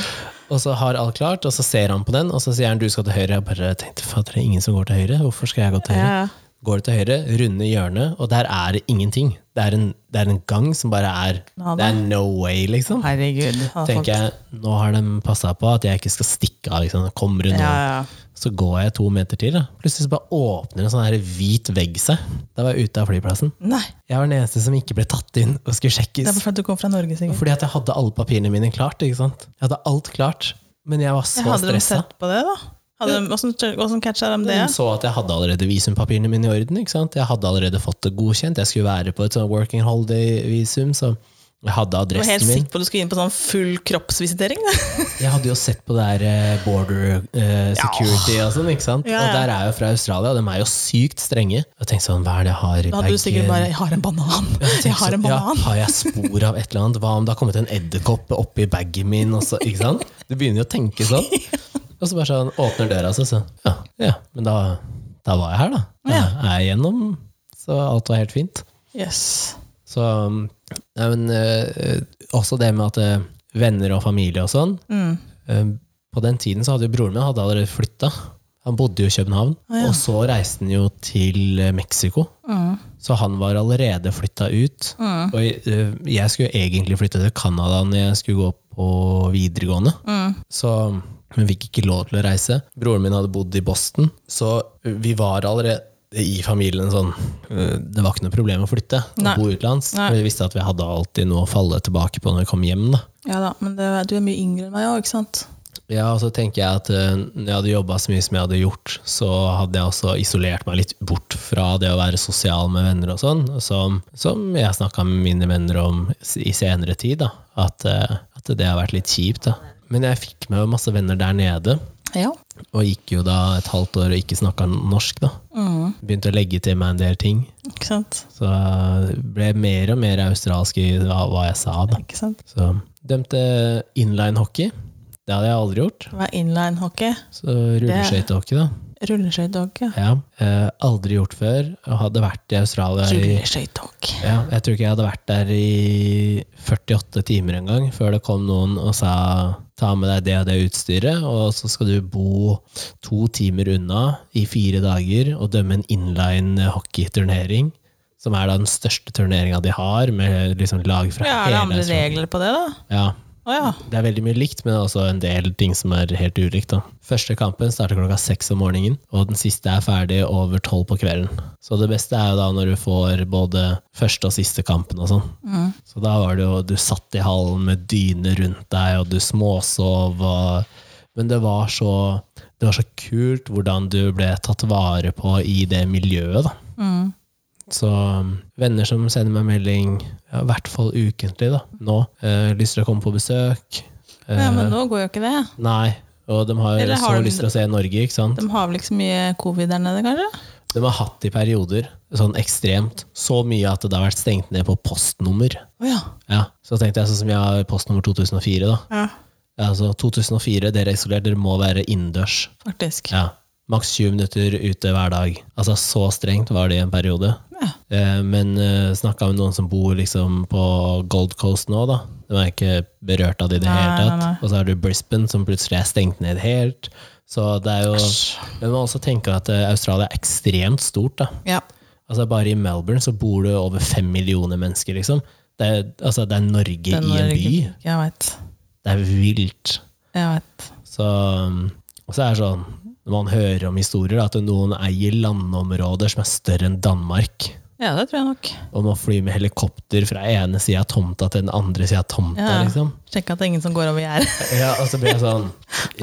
S1: Og så har alt klart, og så ser han på den, og så sier han du skal til høyre. Jeg bare tenkte fader, det er ingen som går til høyre. Hvorfor skal jeg gå til høyre?
S2: Ja, ja.
S1: Går det til høyre, runde hjørnet, og der er det ingenting. Det er en, det er en gang som bare er
S2: Nada.
S1: Det er no way, liksom.
S2: Herregud.
S1: Tenker jeg, Nå har de passa på at jeg ikke skal stikke av. liksom, Kom rundt.
S2: Ja, ja.
S1: Så går jeg to meter til. da. Plutselig så bare åpner en sånn her hvit vegg seg. Da var jeg ute av flyplassen.
S2: Nei,
S1: Jeg var den eneste som ikke ble tatt inn og skulle
S2: det er
S1: sjekkes.
S2: bare fordi du kom fra Norge, sikkert.
S1: Fordi at jeg hadde alle papirene mine klart. ikke sant? Jeg hadde alt klart, men jeg var så
S2: hadde de
S1: stressa.
S2: sett på det, da? Hadde de, hvordan, hvordan catcha de det?
S1: Hun så at jeg hadde allerede visumpapirene mine i orden. ikke sant? Jeg hadde allerede fått det godkjent. Jeg skulle være på et sånn working holiday-visum, så jeg hadde
S2: Du var helt
S1: adressen min.
S2: sikker på at du skulle inn på sånn full kroppsvisitering?
S1: Jeg hadde jo sett på det der eh, border eh, security og sånn, ikke sant?
S2: Ja,
S1: Og
S2: ja.
S1: der er jeg jo fra Australia, og de er jo sykt strenge. Og jeg tenkte sånn, hva er det jeg har i
S2: Da hadde du sikkert
S1: bagen?
S2: bare 'jeg har en banan'.
S1: tenkte
S2: Jeg har en
S1: sånn, ja,
S2: banan.
S1: har jeg spor av et eller annet? Hva om det har kommet en edderkopp oppi bagen min? Og så, ikke sant? Du begynner jo å tenke sånn. Og så bare sånn, åpner døra seg, så ja, ja. Men da, da var jeg her, da. Da er jeg igjennom, så alt var helt fint.
S2: Yes.
S1: Så um, Nei, men eh, også det med at eh, venner og familie og sånn eh, På den tiden så hadde jo broren min hadde allerede flytta. Han bodde jo i København. Og så reiste han jo til eh, Mexico. Så han var allerede flytta ut. Og eh, jeg skulle jo egentlig flytte til Canada når jeg skulle gå på videregående. Så hun fikk ikke lov til å reise. Broren min hadde bodd i Boston, så vi var allerede i familien sånn eh, Det var ikke noe problem å flytte og
S2: Nei.
S1: bo utenlands.
S2: Nei.
S1: for Vi visste at vi hadde alltid noe å falle tilbake på når vi kom hjem. da.
S2: Ja da, men det, du er mye yngre enn meg òg, ikke sant?
S1: Ja, og så tenker jeg at eh, når jeg hadde jobba så mye som jeg hadde gjort, så hadde jeg også isolert meg litt bort fra det å være sosial med venner og sånn, som, som jeg snakka med mine venner om s- i senere tid, da. At, eh, at det har vært litt kjipt, da. Men jeg fikk med masse venner der nede,
S2: Ja.
S1: og gikk jo da et halvt år og ikke snakka norsk, da. Begynte å legge til meg en del ting.
S2: Mm, Ikke sant?
S1: Så jeg ble mer og mer australsk i hva hva jeg sa, da.
S2: Ikke sant?
S1: Så dømte inline hockey. Det hadde jeg aldri gjort.
S2: Hva er inline-hockey?
S1: Så rulleskøytehockey, da.
S2: Rulleskøytehockey?
S1: Ja. Eh, aldri gjort før. Og hadde vært i Australia i
S2: Rulleskøytehockey.
S1: ja, Jeg tror ikke jeg hadde vært der i 48 timer engang før det kom noen og sa ta med deg det og det utstyret, og så skal du bo to timer unna i fire dager og dømme en inline hockeyturnering. Som er da den største turneringa de har, med liksom lag fra
S2: Ja, er det
S1: hele
S2: andre
S1: Australia.
S2: regler på det, da?
S1: Ja,
S2: Å ja.
S1: det er veldig mye likt, men det er også en del ting som er helt ulikt. Da. Første kampen starter klokka seks om morgenen, og den siste er ferdig over tolv på kvelden. Så det beste er jo da når du får både første og siste kampen og sånn. Så da var det jo Du satt i hallen med dyne rundt deg, og du småsov og Men det var så det var så kult hvordan du ble tatt vare på i det miljøet, da. Så um, venner som sender meg melding, ja, i hvert fall ukentlig da, nå, eh, lyst til å komme på besøk. Eh,
S2: ja. Men nå går jo ikke det.
S1: Nei, og de har,
S2: Eller har
S1: så
S2: de-
S1: lyst til å se Norge, ikke sant?
S2: De har vel ikke så mye covid der nede, kanskje?
S1: De har hatt i perioder, sånn ekstremt, så mye at det har vært stengt ned på postnummer.
S2: Å ja.
S1: Ja, så tenkte jeg sånn som jeg har postnummer 2004 da.
S2: ja.
S1: Ja, Altså 2004, dere er isolert, dere må være inndørs.
S2: Faktisk.
S1: Ja, maks 20 minutter ute hver dag. Altså så strengt var det i en periode.
S2: Ja.
S1: Eh, Men uh, snakka med noen som bor liksom på Gold Coast nå, da. De er ikke berørt av det i det
S2: Nei,
S1: hele
S2: nei, nei.
S1: tatt. Og så har du Brisbane, som plutselig er stengt ned helt. Så det er jo
S2: Æsj.
S1: Men man må også tenke at eh, Australia er ekstremt stort, da.
S2: Ja.
S1: Altså Bare i Melbourne så bor det over fem millioner mennesker, liksom. Det er, altså, det er Norge
S2: Den
S1: i en
S2: var-
S1: by.
S2: Jeg veit.
S1: Det er vilt.
S2: Jeg vet.
S1: Så, um, og så er det sånn, når man hører om historier, da, at noen eier landområder som er større enn Danmark.
S2: Ja, det tror jeg nok.
S1: Og må fly med helikopter fra ene sida av tomta til den andre sida av tomta.
S2: Ja.
S1: liksom.
S2: Sjekke at det er ingen som går over gjerdet.
S1: Ja, og så blir jeg sånn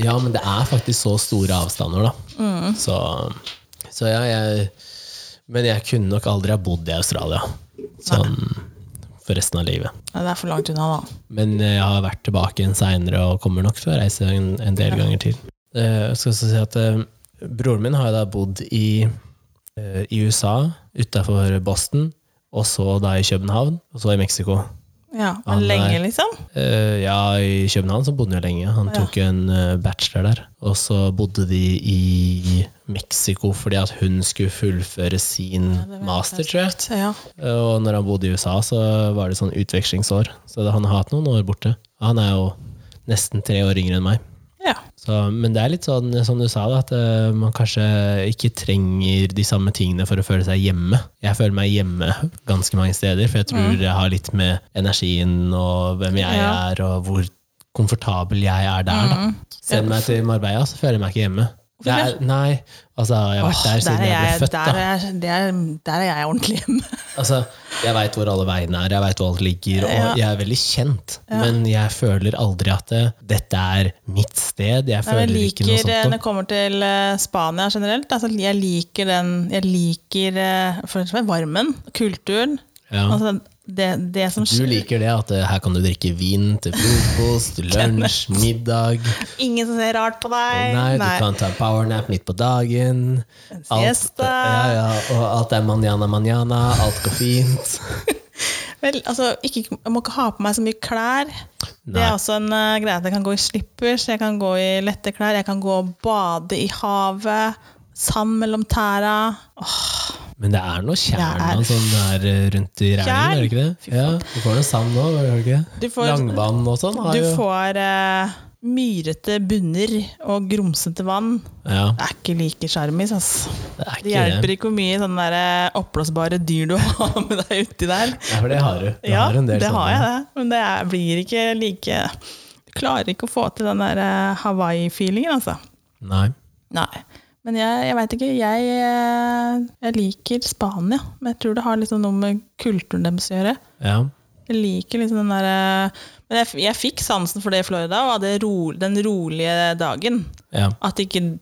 S1: Ja, men det er faktisk så store avstander, da. Så, så ja, jeg Men jeg kunne nok aldri ha bodd i Australia. Sånn for resten av livet.
S2: Nei, Det er for langt unna, da.
S1: Men jeg har vært tilbake igjen seinere og kommer nok til å reise en, en del ganger til. Eh, Jeg skal også si at eh, Broren min har jo da bodd i, eh, i USA, utafor Boston, og så da i København, og så i Mexico.
S2: Ja,
S1: Ja,
S2: men
S1: nei.
S2: lenge, liksom?
S1: Eh, ja, i København så bodde han jo lenge. Han
S2: Ja.
S1: tok jo en eh, bachelor der. Og så bodde de i Mexico fordi at hun skulle fullføre sin
S2: det vet
S1: master, tror jeg.
S2: Så ja.
S1: Eh, Og når han bodde i USA, så var det sånn utvekslingsår. Så det, han har hatt noen år borte. Han er jo nesten tre år yngre enn meg.
S2: ja.
S1: Så, men det er litt sånn som du sa, da, at eh, man kanskje ikke trenger de samme tingene for å føle seg hjemme. Jeg føler meg hjemme ganske mange steder, for jeg tror jeg har litt med energien og hvem jeg
S2: Ja. Mm.
S1: er, og hvor komfortabel jeg er der. Da. Send meg til Marbella, så føler jeg meg ikke hjemme. Det er, nei, altså jeg har vært der
S2: der
S1: siden
S2: er
S1: jeg ble
S2: jeg,
S1: født.
S2: der
S1: da.
S2: er, det er, der er jeg ordentlig hjemme.
S1: Altså, jeg veit hvor alle veiene er, jeg veit hvor alt ligger, og
S2: Ja.
S1: jeg er veldig kjent. Men jeg føler aldri at eh, dette er mitt sted. Jeg
S2: Nei, men
S1: føler
S2: Jeg
S1: ikke noe
S2: liker,
S1: sånt.
S2: eh,
S1: noe.
S2: når jeg kommer til eh, Spania generelt, altså, jeg liker den Jeg liker eh, for det er varmen, kulturen.
S1: Ja.
S2: Altså, det, det som
S1: Du
S2: skjer.
S1: liker det at eh, her kan du drikke vin til frokost, til lunsj, middag.
S2: Ingen som ser rart på deg.
S1: Nei, du kan ta en powernap midt på dagen. Alt,
S2: siesta.
S1: ja, ja, og alt er manjana manjana, alt går fint.
S2: Vel, altså, ikke, jeg må ikke ha på meg så mye klær. Det
S1: Nei.
S2: er også en eh, greie at jeg kan gå i slippers, jeg kan gå i lette klær, jeg kan gå og bade i havet. Sand mellom tæra. Åh,
S1: Men det er noe tjern
S2: Det er-
S1: og sånn der eh, rundt i regnen,
S2: Tjern?
S1: er det ikke det? Ja, du får noe sand nå, gjør du ikke?
S2: Du
S1: det?
S2: får-
S1: Langvann og sånn har
S2: du
S1: jo
S2: får eh, myrete bunner og grumsete vann.
S1: Ja,
S2: Det er ikke like sjarmis, altså.
S1: det er
S2: Det
S1: ikke
S2: hjelper
S1: det.
S2: ikke hvor mye sånne der eh, oppblåsbare dyr du har med deg uti der.
S1: Ja, for det har du. Du
S2: Ja,
S1: har en del
S2: det har
S1: sånne.
S2: jeg, det. Men det er, blir ikke like Du klarer ikke å få til den der eh, Hawaii-feelingen, altså.
S1: Nei.
S2: Nei. Men jeg, jeg veit ikke. Jeg, eh, jeg liker Spania, men jeg tror det har liksom noe med kulturen deres å gjøre.
S1: Ja.
S2: Jeg liker liksom den derre Men jeg, f- jeg fikk sansen for det i Florida, og hadde ro, den rolige dagen.
S1: ja.
S2: At ikke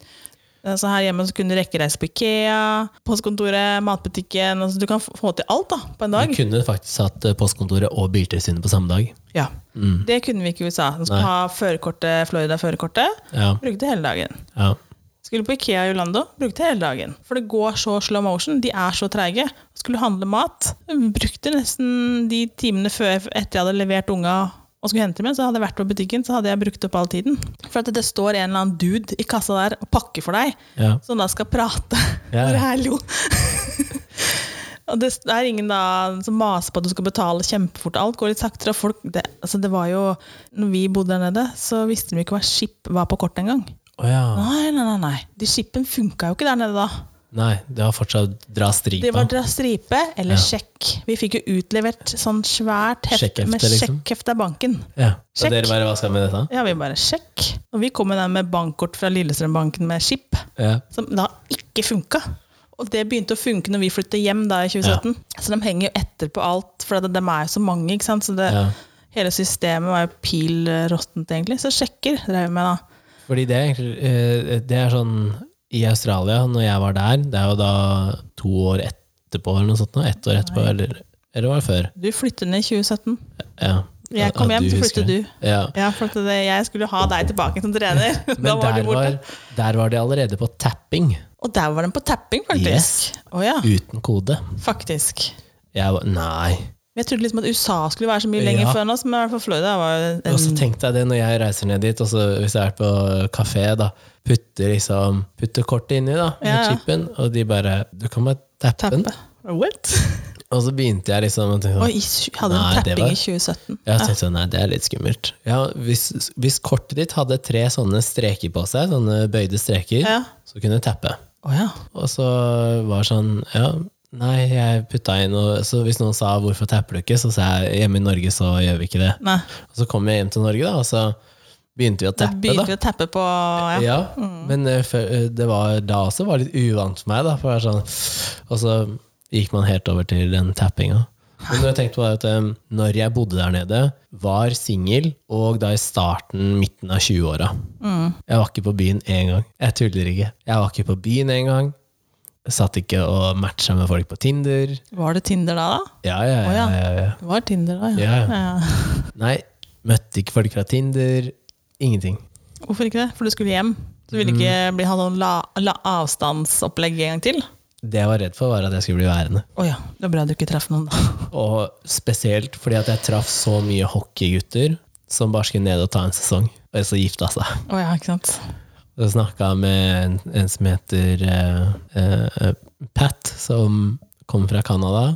S2: Altså her hjemme så kunne du rekke reise på Ikea, postkontoret, matbutikken altså Du kan f- få til alt da, på en
S1: Du
S2: dag.
S1: kunne faktisk hatt eh, postkontoret og biltilsynet på samme dag.
S2: Ja. Det kunne vi ikke i USA. Du skulle
S1: Nei.
S2: ha førerkortet, Florida-førerkortet.
S1: Ja,
S2: Brukte hele dagen.
S1: ja.
S2: Skulle på Ikea i Orlando, brukte hele dagen. For det går så slow motion, de er så treige. Skulle handle mat, brukte nesten de timene før etter jeg hadde levert unga og skulle hente dem, igjen, så hadde jeg vært på butikken, så hadde jeg brukt opp all tiden. For at det står en eller annen dude i kassa der og pakker for deg,
S1: ja.
S2: som da skal prate.
S1: Ja.
S2: Bare hallo. og det er ingen da som maser på at du skal betale kjempefort. Alt går litt saktere. Og folk, det, altså det var jo, når vi bodde der nede, så visste de ikke hva skip var på kortet engang.
S1: Å ja.
S2: Nei, nei, nei, nei. De skippen funka jo ikke der nede da.
S1: Nei, det var fortsatt dra
S2: Det var
S1: stripa.
S2: dra stripe eller
S1: Ja.
S2: sjekk. Vi fikk jo utlevert sånn svært hefte
S1: Sjekkhefte,
S2: med
S1: liksom.
S2: sjekkhefte av banken.
S1: Ja. Og
S2: Sjekk.
S1: dere bare hva skal med dette?
S2: Ja, vi bare sjekk. Og vi kom jo der med bankkort fra Lillestrømbanken med skip,
S1: Ja.
S2: som da ikke funka. Og det begynte å funke når vi flyttet hjem da i 2017. Så de henger jo etter på alt, for de er jo så mange, ikke sant. Så det,
S1: Ja.
S2: hele systemet var jo pil eh, råttent, egentlig. Så sjekker drev vi med da.
S1: Fordi det, er egentlig, eh, det er sånn I Australia, når jeg var der, det er jo da to år etterpå eller noe sånt nå. Ett år etterpå, eller, eller var det før?
S2: Du flyttet ned i 2017.
S1: Ja.
S2: Jeg kom
S1: Ja,
S2: hjem, så
S1: husker
S2: flyttet
S1: det. Ja.
S2: Ja, for at det, jeg skulle ha deg tilbake som trener. da
S1: Men
S2: var
S1: der
S2: du borte.
S1: var, der var de allerede på tapping,
S2: Og der var den på tapping, faktisk. Å ja,
S1: uten kode.
S2: faktisk.
S1: Jeg var, nei.
S2: Jeg trodde liksom at USA skulle være så mye lenger
S1: Ja.
S2: før enn oss, men i hvert fall Florida var jo
S1: Og så
S2: en
S1: tenkte jeg det når jeg reiser ned dit, og så hvis jeg er på kafé, da, putter liksom, putter kortet inni da, med
S2: Ja, ja.
S1: chipen, og de bare, du kan bare tappe den.
S2: tappe. What?
S1: Og så begynte jeg liksom å tenke sånn,
S2: Og i, tj- hadde
S1: Nei,
S2: en
S1: det
S2: tapping
S1: var-
S2: i 2017.
S1: Jeg tenkte sånn, nei, det er litt skummelt. Ja, hvis, hvis kortet ditt hadde tre sånne streker på seg, sånne bøyde streker,
S2: Ja.
S1: så kunne du tappe.
S2: Å ja.
S1: Og så var det sånn, ja, nei, jeg putta inn, og så hvis noen sa hvorfor tapper du ikke, så sa jeg hjemme i Norge så gjør vi ikke det.
S2: Nei.
S1: Og så kom jeg hjem til Norge da, og så begynte vi å
S2: Da
S1: tappe da.
S2: begynte vi å tappe på ja. Mm.
S1: Ja, men eh, før- eh, det var da også var litt uvant for meg. Da, for det var sånn, og så gikk man helt over til den tappinga. Men når jeg tenkte på det at eh, når jeg bodde der nede, var singel, og da i starten, midten av 20-åra.
S2: Mm.
S1: Jeg var ikke på byen én gang. Jeg tuller ikke. Jeg var ikke på byen én gang. Jeg satt ikke og matcha med folk på Tinder.
S2: Var det Tinder da, da?
S1: Ja, ja, ja,
S2: Å, ja.
S1: ja, ja.
S2: Det var Tinder da, ja.
S1: Ja, Nei, møtte ikke folk fra Tinder. Ingenting.
S2: Hvorfor ikke det? For du skulle hjem. Du ville ikke bli, ha noen la, la avstandsopplegg en gang til?
S1: Det jeg var redd for, var at jeg skulle bli værende.
S2: Å ja. Det er bra du ikke traff noen, da.
S1: Og spesielt fordi at jeg traff så mye hockeygutter som bare skulle ned og ta en sesong. Og så gifta seg.
S2: Å ja, ikke sant.
S1: Og så snakka jeg med en, en som heter eh, eh, Pat, som kom fra Canada.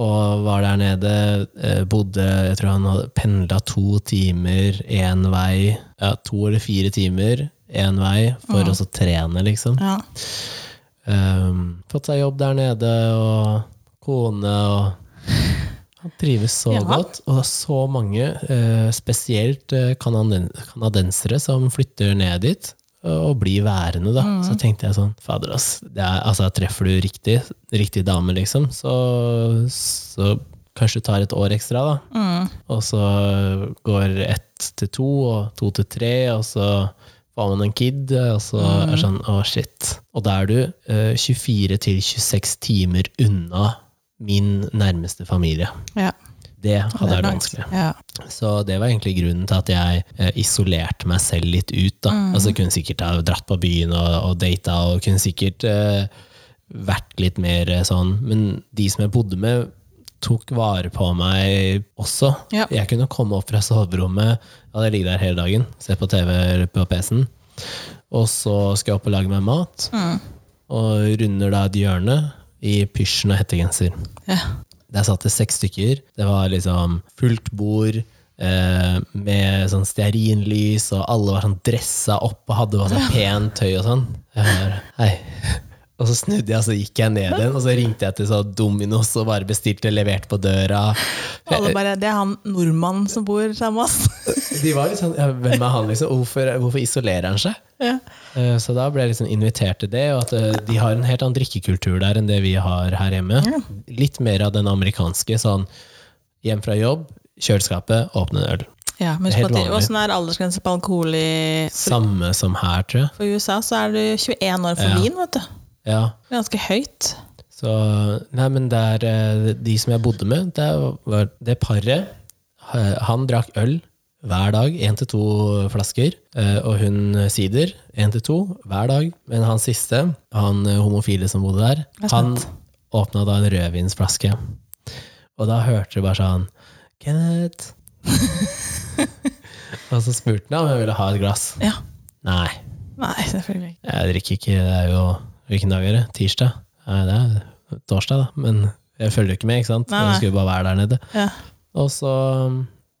S1: Og var der nede. eh, bodde Jeg tror han hadde pendla to timer én vei. Ja, to eller fire timer én vei for å så trene, liksom.
S2: Ja.
S1: Ehm, fått seg jobb der nede, og kone og Han trives så
S2: Ja.
S1: godt. Og det er så mange, eh, spesielt eh, kanaden- kanadensere, som flytter ned dit. Og blir værende, da. Så tenkte jeg sånn Fader, ass. Det er, altså, treffer du riktig, riktig dame, liksom, så, så kanskje du tar et år ekstra, da.
S2: Mm.
S1: Og så går ett til to, og to til tre, og så får man en kid, og så er det sånn, å shit. Og da er du eh, 24 til 26 timer unna min nærmeste familie.
S2: ja.
S1: Det hadde vært
S2: langt.
S1: vanskelig.
S2: Ja.
S1: Så det var egentlig grunnen til at jeg eh, isolerte meg selv litt ut. Da.
S2: Mm.
S1: Altså, jeg kunne sikkert ha dratt på byen og, og data, og kunne sikkert eh, vært litt mer eh, sånn. Men de som jeg bodde med, tok vare på meg også.
S2: Ja.
S1: Jeg kunne komme opp fra soverommet, ja, jeg ligger der hele dagen, se på TV eller på PC-en. Og så skal jeg opp og lage meg mat,
S2: Mm.
S1: og runder da et hjørne i pysjen og hettegenser.
S2: ja.
S1: Der satt det seks stykker. Det var liksom fullt bord eh, med sånn stearinlys, og alle var sånn dressa opp og hadde bare sånn pent tøy og sånn. Jeg bare, hei. Og så snudde jeg, og så gikk jeg ned igjen, og så ringte jeg til sånn Dominos og bare bestilte levert på døra.
S2: Alle bare Det er han nordmannen som bor sammen med oss.
S1: De var litt sånn ja, Hvem er han, liksom? Hvorfor, hvorfor isolerer han seg?
S2: ja.
S1: Eh, Så da ble jeg liksom invitert til det, og at eh, de har en helt annen drikkekultur der enn det vi har her hjemme. Litt mer av den amerikanske, sånn hjem fra jobb, kjøleskapet, åpne en øl.
S2: ja men
S1: Det er helt
S2: husk på at
S1: vanlig.
S2: åssen er aldersgrense på alkohol i
S1: Samme som her, tror jeg.
S2: For i USA så er du 21 år for
S1: Ja.
S2: vin, vet du.
S1: Ja.
S2: Ganske høyt.
S1: Så Nei, men der eh, de som jeg bodde med, det var det paret. eh, Han drakk øl hver dag, én til to flasker. eh, Og hun sider, én til to hver dag. Men han siste, han eh, homofile som bodde der,
S2: Det er
S1: han
S2: sant.
S1: åpna da en rødvinsflaske. Og da hørte du bare sånn Kenneth. og så spurte han om jeg ville ha et glass.
S2: Ja.
S1: Nei.
S2: Nei, selvfølgelig ikke.
S1: Jeg drikker ikke, det er jo Hvilken dag er det? Tirsdag? Nei, det er torsdag, da. Men jeg følger jo ikke med, ikke sant?
S2: Nei, nei.
S1: Jeg skulle bare være der nede.
S2: Ja.
S1: Og så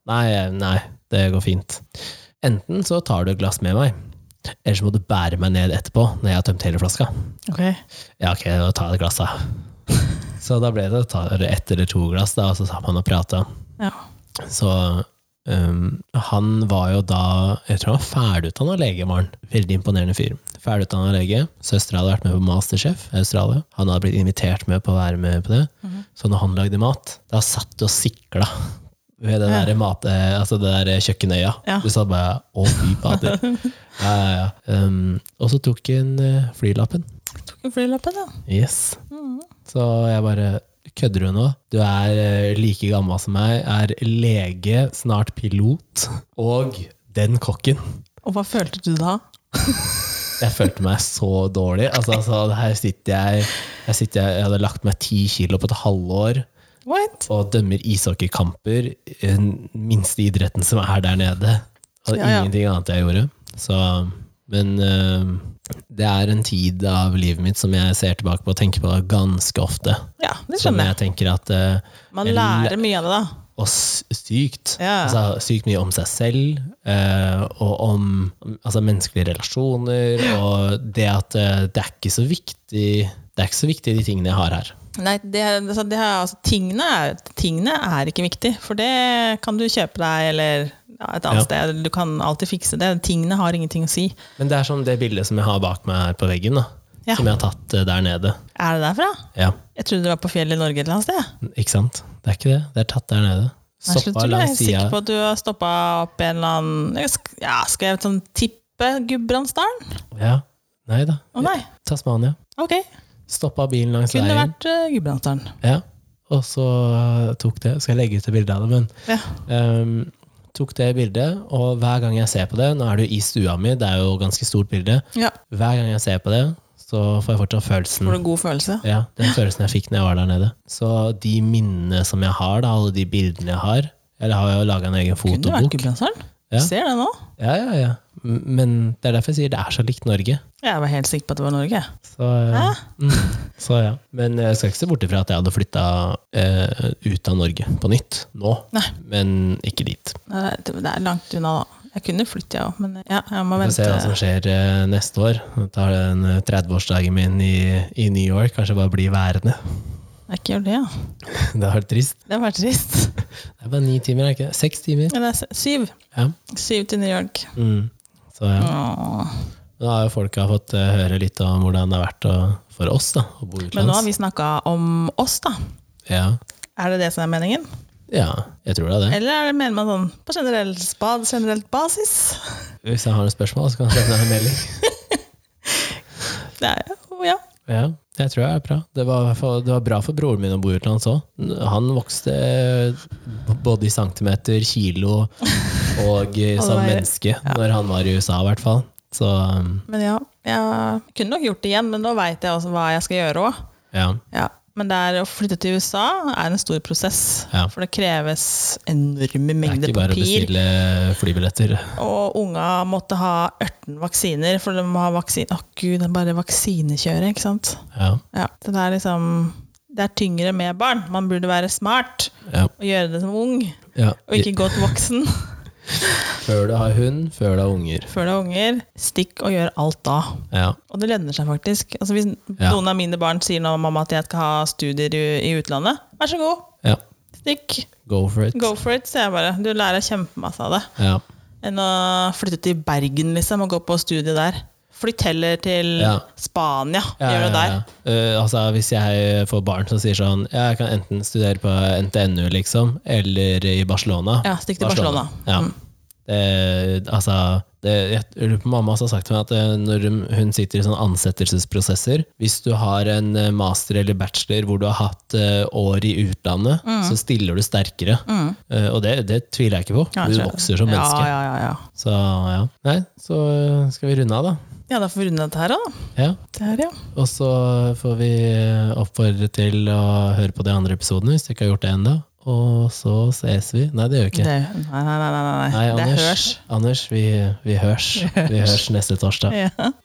S1: Nei, nei, det går fint. Enten så tar du et glass med meg, eller så må du bære meg ned etterpå når jeg har tømt hele flaska.
S2: Ok.
S1: Ja, ok, da tar jeg et glass, da. Så da ble det ta ett eller to glass, da, og så satt man og prata.
S2: Ja.
S1: Så øhm, han var jo da Jeg tror han var ferdigutdanna lege, var han. Veldig imponerende fyr. Ferdigutdanna lege. Søstera hadde vært med på Masterchef i Australia. Han hadde blitt invitert med på å være med på det.
S2: Mhm.
S1: Så når han lagde mat, da satt du og sikla ved det
S2: Ja.
S1: der, mat, eh, altså det der kjøkkenøya.
S2: Ja.
S1: Du sa bare 'å, fy fader'. ja, ja, ja. Øhm, og så tok han eh, flylappen.
S2: Tok en flylappen, ja.
S1: Yes. Så jeg bare Kødder du nå? Du er eh, like gammel som meg, er lege, snart pilot, og den kokken.
S2: Og hva følte du da?
S1: Jeg følte meg så dårlig. Altså, altså her sitter jeg, her sitter jeg Jeg hadde lagt meg ti kilo på et halvår
S2: What?
S1: og dømmer ishockeykamper. Den minste idretten som er der nede. Hadde
S2: Ja, ja.
S1: ingenting annet jeg gjorde. Så Men eh, det er en tid av livet mitt som jeg ser tilbake på og tenker på ganske ofte.
S2: Ja, det
S1: Som
S2: skjønner jeg.
S1: jeg tenker at eh,
S2: Man
S1: jeg
S2: lærer mye av det, da.
S1: og s- sykt.
S2: Ja.
S1: Altså, sykt mye om seg selv, eh, og om altså, menneskelige relasjoner, og det at eh, det er ikke så viktig Det er ikke så viktig de tingene jeg har her.
S2: Nei, det, altså, det er, altså, tingene, er, tingene er ikke viktig, for det kan du kjøpe deg eller ja, et annet
S1: Ja.
S2: sted. Du kan alltid fikse det. Tingene har ingenting å si.
S1: Men det er som det bildet som jeg har bak meg her på veggen, da,
S2: Ja.
S1: som jeg har tatt eh, der nede.
S2: Er det derfra?
S1: Ja,
S2: Jeg trodde det var på fjellet i Norge et eller annet sted.
S1: Ikke sant? Det er ikke det. Det er tatt der nede.
S2: Nei, slutt,
S1: Stoppa
S2: du er
S1: langs
S2: helt sikker
S1: sida.
S2: på at du har stoppa opp en eller annen jeg sk- ja, Skal jeg sånn tippe Gudbrandsdalen?
S1: Ja. Nei da.
S2: Å nei.
S1: Tasmania.
S2: Ok.
S1: Stoppa bilen langs
S2: Kunne
S1: veien.
S2: vært uh, Gudbrandsdalen.
S1: Ja. Og så eh, tok det Skal jeg legge ut et bilde av det, men
S2: Ja.
S1: Ehm, tok det bildet, og hver gang jeg ser på det Nå er det jo i stua mi, det er jo ganske stort bilde.
S2: ja.
S1: Hver gang jeg ser på det, så får jeg fortsatt følelsen
S2: Får du en god følelse?
S1: ja, den følelsen jeg fikk når jeg var der nede. Så de minnene som jeg har, da, alle de bildene jeg har Eller har jeg jo laga en egen
S2: Kunne vært
S1: fotobok.
S2: Gudbrandsdalen.
S1: Ja.
S2: Ser det nå?
S1: Ja, ja, ja. M- Men det er derfor jeg sier det er så likt Norge.
S2: Jeg var helt sikker på at det var Norge.
S1: Så, eh, mm, så ja. Men eh, jeg skal ikke se bort ifra at jeg hadde flytta eh, ut av Norge på nytt nå.
S2: Nei.
S1: Men ikke dit.
S2: Nei, Det det er langt unna, da. Jeg kunne flytte, jeg òg, men ja, jeg må
S1: Vi får se
S2: vente.
S1: hva som skjer eh, neste år. Jeg tar den eh, 30-årsdagen min i, i New York. Kanskje jeg bare blir værende.
S2: Jeg ikke gjør det, ja.
S1: Det har vært trist.
S2: Det var trist.
S1: Det er bare ni timer, er det ikke? Seks timer.
S2: Eller s- syv.
S1: Ja.
S2: Syv til New York.
S1: Mm. Så ja.
S2: Åh.
S1: Da har jo folka fått eh, høre litt om hvordan det har vært å, for oss da, å bo
S2: Men nå har
S1: utenlands.
S2: vi snakka om oss, da.
S1: Ja.
S2: Er det det som er meningen?
S1: ja, jeg tror det er det.
S2: Eller er det mener man sånn på generell, spa- generelt basis?
S1: Hvis jeg har noen spørsmål, så kan jeg sende deg en melding.
S2: Det er jo ja.
S1: Ja, jeg tror jeg er bra. Det var, i hvert fall- det var bra for broren min å bo utenlands òg. Han vokste eh, både i centimeter, kilo og eh,
S2: Og
S1: som
S2: det var-
S1: menneske når han var i USA, i hvert fall. Så um,
S2: Men ja. Jeg kunne nok gjort det igjen, men nå veit jeg også hva jeg skal gjøre òg.
S1: ja.
S2: Ja. Men det er å flytte til USA er en stor prosess.
S1: Ja.
S2: For det kreves enorme
S1: Det er
S2: mengder
S1: ikke bare å
S2: papir.
S1: bestille flybilletter.
S2: Og unga måtte ha 18 vaksiner, for de må ha vaksine... Å gud, det er bare vaksinekjøret, ikke sant?
S1: Ja,
S2: Ja, så det er liksom... Det er tyngre med barn. Man burde være smart
S1: ja,
S2: og gjøre det som ung, og
S1: ja.
S2: ikke gå til voksen
S1: Før du har hund, før du har unger.
S2: før du har unger. Stikk og gjør alt da.
S1: Ja,
S2: Og det lønner seg faktisk. Altså hvis
S1: Ja.
S2: noen av mine barn sier nå, mamma, at jeg skal ha studier i, i utlandet, vær så god,
S1: ja.
S2: stikk,
S1: Go for it.
S2: go for it, sier jeg bare. Du lærer kjempemasse av det.
S1: Ja.
S2: enn å flytte til Bergen liksom, og gå på studie der. Flytt heller til
S1: Ja.
S2: Spania.
S1: Ja,
S2: Gjør det
S1: ja,
S2: der.
S1: ja. Eh, altså, hvis jeg får barn som sier sånn ja, Jeg kan enten studere på NTNU, liksom, eller i Barcelona.
S2: Ja, stikk til Barcelona.
S1: Ja.
S2: Mm.
S1: Det, altså, det, jeg lurer på mamma også har sagt til meg at eh, når hun- hun sitter i sånne ansettelsesprosesser Hvis du har en eh, master eller bachelor hvor du har hatt eh, år i utlandet,
S2: Mm.
S1: så stiller du sterkere. Eh, og det, det tviler jeg ikke på.
S2: Ja,
S1: du
S2: så-
S1: vokser som menneske.
S2: Ja, ja, ja, ja.
S1: Så ja. Nei, så eh, skal vi runde av, da.
S2: ja da får vi runde dette her, da.
S1: Ja.
S2: Det her, ja.
S1: Og så får vi eh, oppfordre til å høre på de andre episodene hvis du ikke har gjort det ennå. Og så ses vi. Nei, det gjør vi
S2: Det,
S1: ikke.
S2: nei, nei, nei, nei, nei.
S1: Nei,
S2: det
S1: Anders,
S2: hørs.
S1: Anders vi, vi hørs. Vi hørs neste torsdag.
S2: Ja.